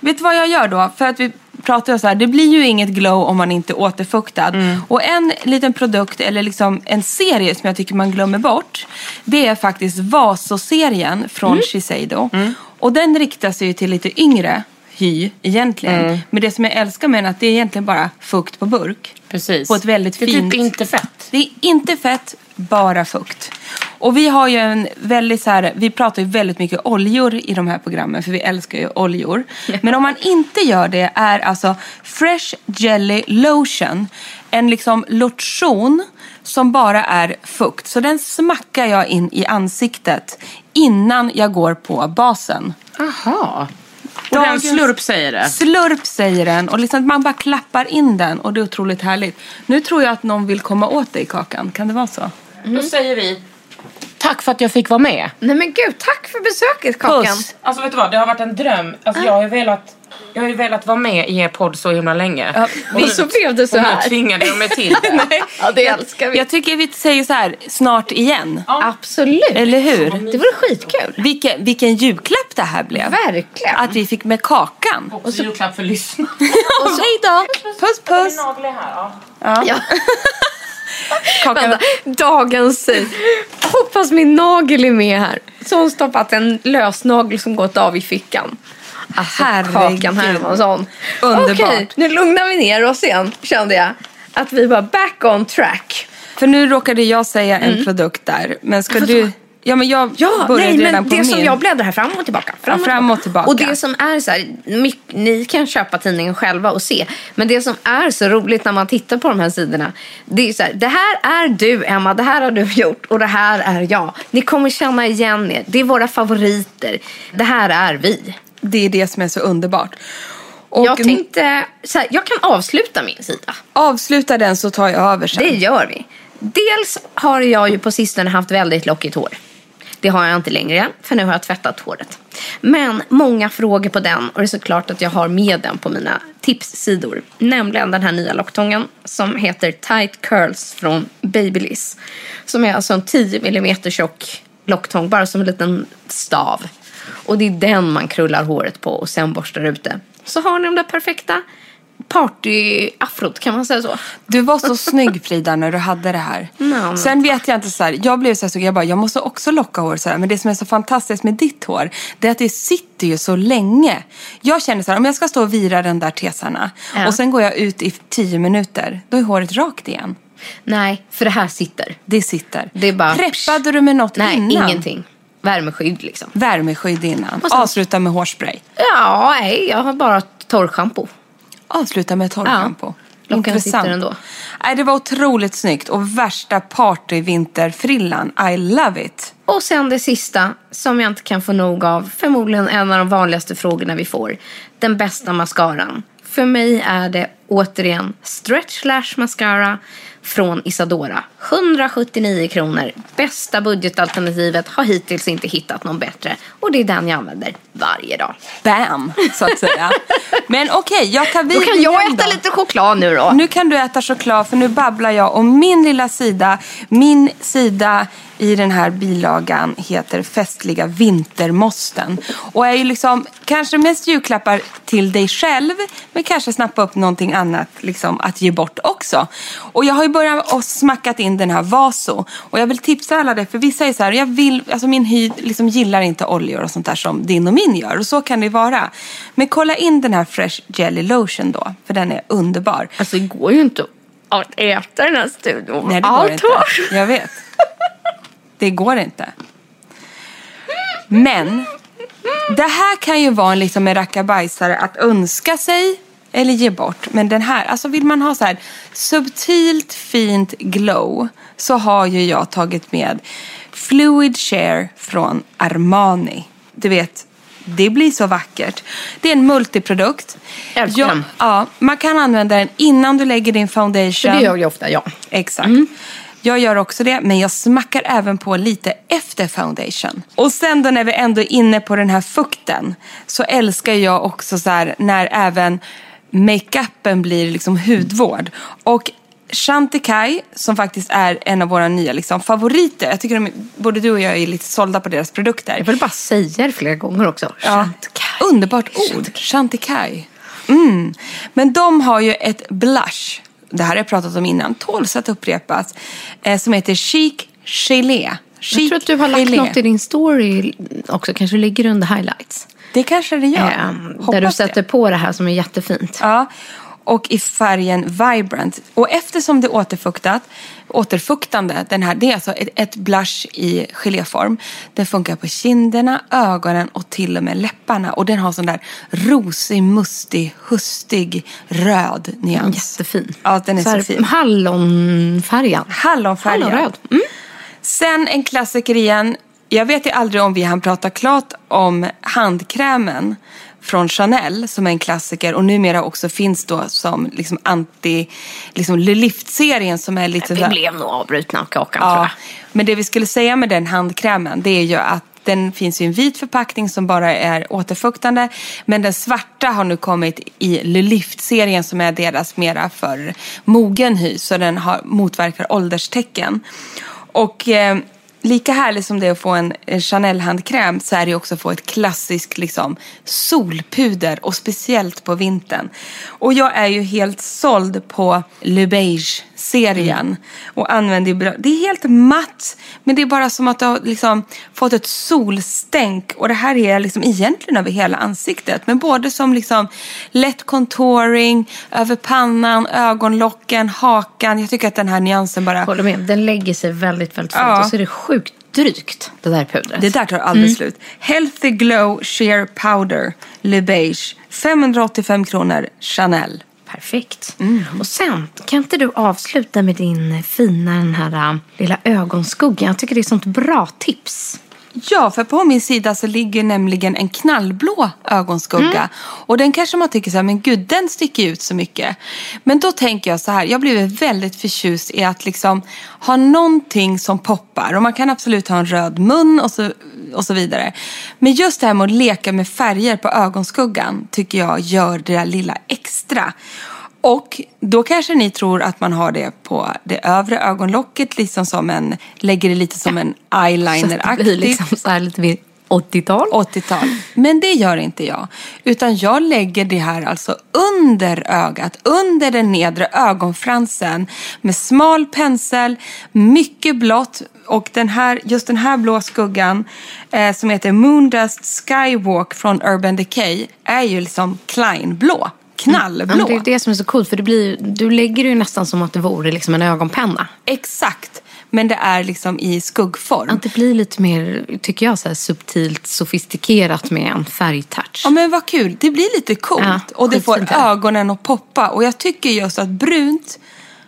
[SPEAKER 4] Vet du vad jag gör då? För att vi pratar ju så här, det blir ju inget glow om man inte är återfuktad. Och en liten produkt, eller liksom en serie som jag tycker man glömmer bort. Det är faktiskt Vaso-serien från Shiseido. Och den riktar sig ju till lite yngre hy egentligen. Men det som jag älskar med den är att det är egentligen bara fukt på burk.
[SPEAKER 5] Precis.
[SPEAKER 4] På ett väldigt
[SPEAKER 5] Det är
[SPEAKER 4] fint...
[SPEAKER 5] typ inte fett.
[SPEAKER 4] Det är inte fett, bara fukt. Och vi har ju en väldigt så här, vi pratar ju väldigt mycket oljor i de här programmen för vi älskar ju oljor. Men om man inte gör det är alltså Fresh Jelly Lotion en liksom lotion som bara är fukt. Så den smackar jag in i ansiktet innan jag går på basen.
[SPEAKER 5] Jaha. Och den
[SPEAKER 4] Dagens-
[SPEAKER 5] slurp säger det.
[SPEAKER 4] Slurp säger den och liksom man bara klappar in den och det är otroligt härligt. Nu tror jag att någon vill komma åt dig Kakan, kan det vara så? Mm.
[SPEAKER 5] Då säger vi tack för att jag fick vara med.
[SPEAKER 3] Nej men gud, tack för besöket Kakan.
[SPEAKER 4] Puss.
[SPEAKER 5] Alltså vet du vad, det har varit en dröm. Alltså,
[SPEAKER 3] Ah.
[SPEAKER 5] jag, har ju velat, jag har ju velat vara med i er podd så himla länge. Och
[SPEAKER 3] men
[SPEAKER 5] nu-
[SPEAKER 3] så blev det så
[SPEAKER 5] och nu
[SPEAKER 3] här.
[SPEAKER 5] tvingade jag mig till det.
[SPEAKER 3] Ja, det älskar vi.
[SPEAKER 4] Jag tycker vi säger så här, snart igen.
[SPEAKER 3] Absolut.
[SPEAKER 4] Eller hur?
[SPEAKER 3] Det vore skitkul.
[SPEAKER 4] Vilken, vilken julklapp det här blev.
[SPEAKER 3] Verkligen.
[SPEAKER 4] Att vi fick med Kakan.
[SPEAKER 5] Och så julklapp för lyssnarna.
[SPEAKER 4] Hej då! Puss puss!
[SPEAKER 5] Naglar här, ja.
[SPEAKER 3] Ja.
[SPEAKER 4] Kakan.
[SPEAKER 3] Vänta, Alltså, dagens syn. Hoppas min nagel är med här. Så hon stoppat en lösnagel som gått av i fickan. Alltså
[SPEAKER 4] Ah, Herregud.
[SPEAKER 3] Kakan Hermansson.
[SPEAKER 4] Underbart.
[SPEAKER 3] Okej, nu lugnar vi ner oss igen kände jag. Att vi var back on track.
[SPEAKER 4] För nu råkade jag säga en
[SPEAKER 3] Mm.
[SPEAKER 4] produkt där. Men ska du... Ja men jag började redan på
[SPEAKER 3] det
[SPEAKER 4] min.
[SPEAKER 3] som jag bläddrar här fram och tillbaka. Fram
[SPEAKER 4] Ja, fram och tillbaka.
[SPEAKER 3] Och det som är så här, myck- ni kan köpa tidningen själva och se. Men det som är så roligt när man tittar på de här sidorna. Det är så här, det här är du Emma, det här har du gjort och det här är jag. Ni kommer känna igen er, det är våra favoriter. Det här är vi.
[SPEAKER 4] Det är det som är så underbart. Och
[SPEAKER 3] jag tänkte, så här, jag kan avsluta min sida.
[SPEAKER 4] avsluta den så tar jag över sen.
[SPEAKER 3] Det gör vi. Dels har jag ju på sistone haft väldigt lockigt hår. Det har jag inte längre, för nu har jag tvättat håret. Men många frågor på den och det är såklart att jag har med den på mina tipssidor. Nämligen den här nya locktången som heter Tight Curls från Babyliss. Som är alltså en 10 mm tjock locktång, bara som en liten stav. Och det är den man krullar håret på och sen borstar ut det. Så har ni de där perfekta party-afrot, kan man säga så?
[SPEAKER 4] Du var så snygg Frida när du hade det här.
[SPEAKER 3] men
[SPEAKER 4] Sen vet jag inte så här, jag blev så här sugen, jag bara jag måste också locka hår så här. Men det som är så fantastiskt med ditt hår, det är att det sitter ju så länge. Jag känner så här, om jag ska stå och vira den där tesarna
[SPEAKER 3] Ja.
[SPEAKER 4] och sen går jag ut i tio minuter, då är håret rakt igen.
[SPEAKER 3] Nej, för det här sitter.
[SPEAKER 4] Det sitter.
[SPEAKER 3] Det är bara...
[SPEAKER 4] Preppade du med något
[SPEAKER 3] Nej,
[SPEAKER 4] innan?
[SPEAKER 3] ingenting. Värmeskydd liksom.
[SPEAKER 4] Värmeskydd innan.
[SPEAKER 3] sen-
[SPEAKER 4] Avsluta med hårspray.
[SPEAKER 3] Ja, nej, jag har bara torrschampo.
[SPEAKER 4] Avsluta med torrschampo.
[SPEAKER 3] Ja. Lockarna sitter ändå.
[SPEAKER 4] Nej, det var otroligt snyggt och värsta partyvinterfrillan. I love it.
[SPEAKER 3] Och sen det sista, som jag inte kan få nog av. Förmodligen en av de vanligaste frågorna vi får. Den bästa mascaran. För mig är det återigen Stretch Lash Mascara från Isadora. 179 kronor. Bästa budgetalternativet. Har hittills inte hittat någon bättre. Och det är den jag använder varje dag.
[SPEAKER 4] Bam, så att säga. Men okej, jag tar vid
[SPEAKER 3] Då kan
[SPEAKER 4] igen
[SPEAKER 3] jag
[SPEAKER 4] då.
[SPEAKER 3] äta lite choklad nu då.
[SPEAKER 4] Nu kan du äta choklad för nu babblar jag om min lilla sida. Min sida i den här bilagan heter Festliga vintermosten. Och är ju liksom kanske mest julklappar till dig själv men kanske snappa upp någonting annat liksom, att ge bort också. Och jag har ju börjat och smackat in den här Vaso. Och jag vill tipsa alla det för vissa är så här, jag vill, alltså min hy liksom gillar inte oljor och sånt där som din och min gör. Och så kan det ju vara. Men kolla in den här Fresh Jelly Lotion då, för den är underbar.
[SPEAKER 3] Alltså det går ju inte att
[SPEAKER 6] att äta den här studion.
[SPEAKER 4] Nej, det går
[SPEAKER 6] Allt
[SPEAKER 4] inte.
[SPEAKER 6] hår.
[SPEAKER 4] Jag vet. Det går inte. Men det här kan ju vara en, liksom en rackabajsare att önska sig eller ge bort. Men den här, alltså vill man ha så här subtilt fint glow så har ju jag tagit med Fluid Share från Armani. Du vet, det blir så vackert. Det är en multiprodukt.
[SPEAKER 6] Älskar
[SPEAKER 4] Ja,
[SPEAKER 6] den.
[SPEAKER 4] ja, man kan använda den innan du lägger din
[SPEAKER 3] För
[SPEAKER 4] foundation.
[SPEAKER 3] det gör jag ofta, ja.
[SPEAKER 4] Exakt. Jag gör också det, men jag smackar även på lite efter foundation. Och sen då när vi ändå är inne på den här fukten så älskar jag också så här när även makeupen blir liksom hudvård. Och Shantikai, som faktiskt är en av våra nya liksom, favoriter. Jag tycker de, både du och jag är lite sålda på deras produkter.
[SPEAKER 3] Jag vill bara säga det flera gånger också.
[SPEAKER 4] Ja. Underbart ord. Chantikai. Mm. Men de har ju ett blush. Det här har jag pratat om innan. Tåls att upprepas. Eh, som heter Chic Gelé. Chic
[SPEAKER 3] Jag tror att du har lagt
[SPEAKER 4] Gelé.
[SPEAKER 3] något i din story också. Kanske ligger under highlights.
[SPEAKER 4] Det kanske det gör.
[SPEAKER 3] Ehm, där
[SPEAKER 4] Hoppas
[SPEAKER 3] du
[SPEAKER 4] det.
[SPEAKER 3] sätter på det här som är jättefint.
[SPEAKER 4] Ja. Och i färgen Vibrant. Och eftersom det är återfuktat, återfuktande, den här, det är alltså ett, ett blush i geléform. Den funkar på kinderna, ögonen och till och med läpparna. Och den har sån där rosig, mustig, hustig, röd nyans.
[SPEAKER 3] Jättefin.
[SPEAKER 4] Ja, den är så,
[SPEAKER 3] här
[SPEAKER 4] fin.
[SPEAKER 3] Hallonfärgad.
[SPEAKER 4] Hallonfärgad.
[SPEAKER 3] Hallonröd. Mm.
[SPEAKER 4] Sen en klassiker igen. Jag vet ju aldrig om vi hann prata klart om handkrämen från Chanel som är en klassiker och numera också finns då som liksom anti, liksom Le Lift-serien som är lite
[SPEAKER 6] Vi
[SPEAKER 4] så här-
[SPEAKER 6] blev nog avbrutna av kakan tror
[SPEAKER 4] Ja,
[SPEAKER 6] jag.
[SPEAKER 4] men det vi skulle säga med den handkrämen det är ju att den finns i en vit förpackning som bara är återfuktande. Men den svarta har nu kommit i Le Lift-serien som är deras mera för mogen hy. Så den har, motverkar ålderstecken. Och eh, lika härligt som det är att få en en Chanel-handkräm så är det ju också att få ett klassiskt liksom, solpuder. Och speciellt på vintern. Och jag är ju helt såld på Le Beige-serien. Och använder ju bra. Det är helt matt. Men det är bara som att du har liksom fått ett solstänk. Och det här är liksom egentligen över hela ansiktet. Men både som liksom lätt contouring, över pannan, ögonlocken, hakan. Jag tycker att den här nyansen bara...
[SPEAKER 3] Håller med. Den lägger sig väldigt, väldigt fint.
[SPEAKER 4] Ja.
[SPEAKER 3] Och så är det sjukt drygt, det där pudret.
[SPEAKER 4] Det där tar aldrig slut. Healthy Glow Sheer Powder Le Beige. 585 kronor Chanel.
[SPEAKER 3] Perfekt. Och sen, kan inte du avsluta med din fina den här äh, lilla ögonskuggan? Jag tycker det är ett sånt bra tips.
[SPEAKER 4] Ja, för på min sida så ligger nämligen en knallblå ögonskugga.
[SPEAKER 3] Mm.
[SPEAKER 4] Och den kanske man tycker så här, men gud den sticker ut så mycket. Men då tänker jag så här, jag blev väldigt förtjust i att liksom ha någonting som poppar. Och man kan absolut ha en röd mun och så, och så vidare. Men just det här med att leka med färger på ögonskuggan tycker jag gör det där lilla extra. Och då kanske ni tror att man har det på det övre ögonlocket, liksom som en, lägger det lite som en
[SPEAKER 3] Så att det
[SPEAKER 4] eyeliner-aktigt.
[SPEAKER 3] blir liksom så här lite vid 80-tal.
[SPEAKER 4] 80-tal. Men det gör inte jag. Utan jag lägger det här alltså under ögat, under den nedre ögonfransen med smal pensel, mycket blått och den här, just den här blå skuggan eh, som heter Moondust Skywalk från Urban Decay är ju liksom kleinblå, knallblå.
[SPEAKER 3] Mm. Ja, men det är ju det som är så coolt, för det blir, ju- du lägger det ju nästan som att det vore liksom en ögonpenna.
[SPEAKER 4] Exakt, men det är liksom i skuggform.
[SPEAKER 3] Att det blir lite mer, tycker jag, så här subtilt sofistikerat med en färgtouch.
[SPEAKER 4] Ja men vad kul, det blir lite coolt
[SPEAKER 3] Ja,
[SPEAKER 4] och det får
[SPEAKER 3] skitfint är det.
[SPEAKER 4] ögonen att poppa. Och jag tycker just att brunt,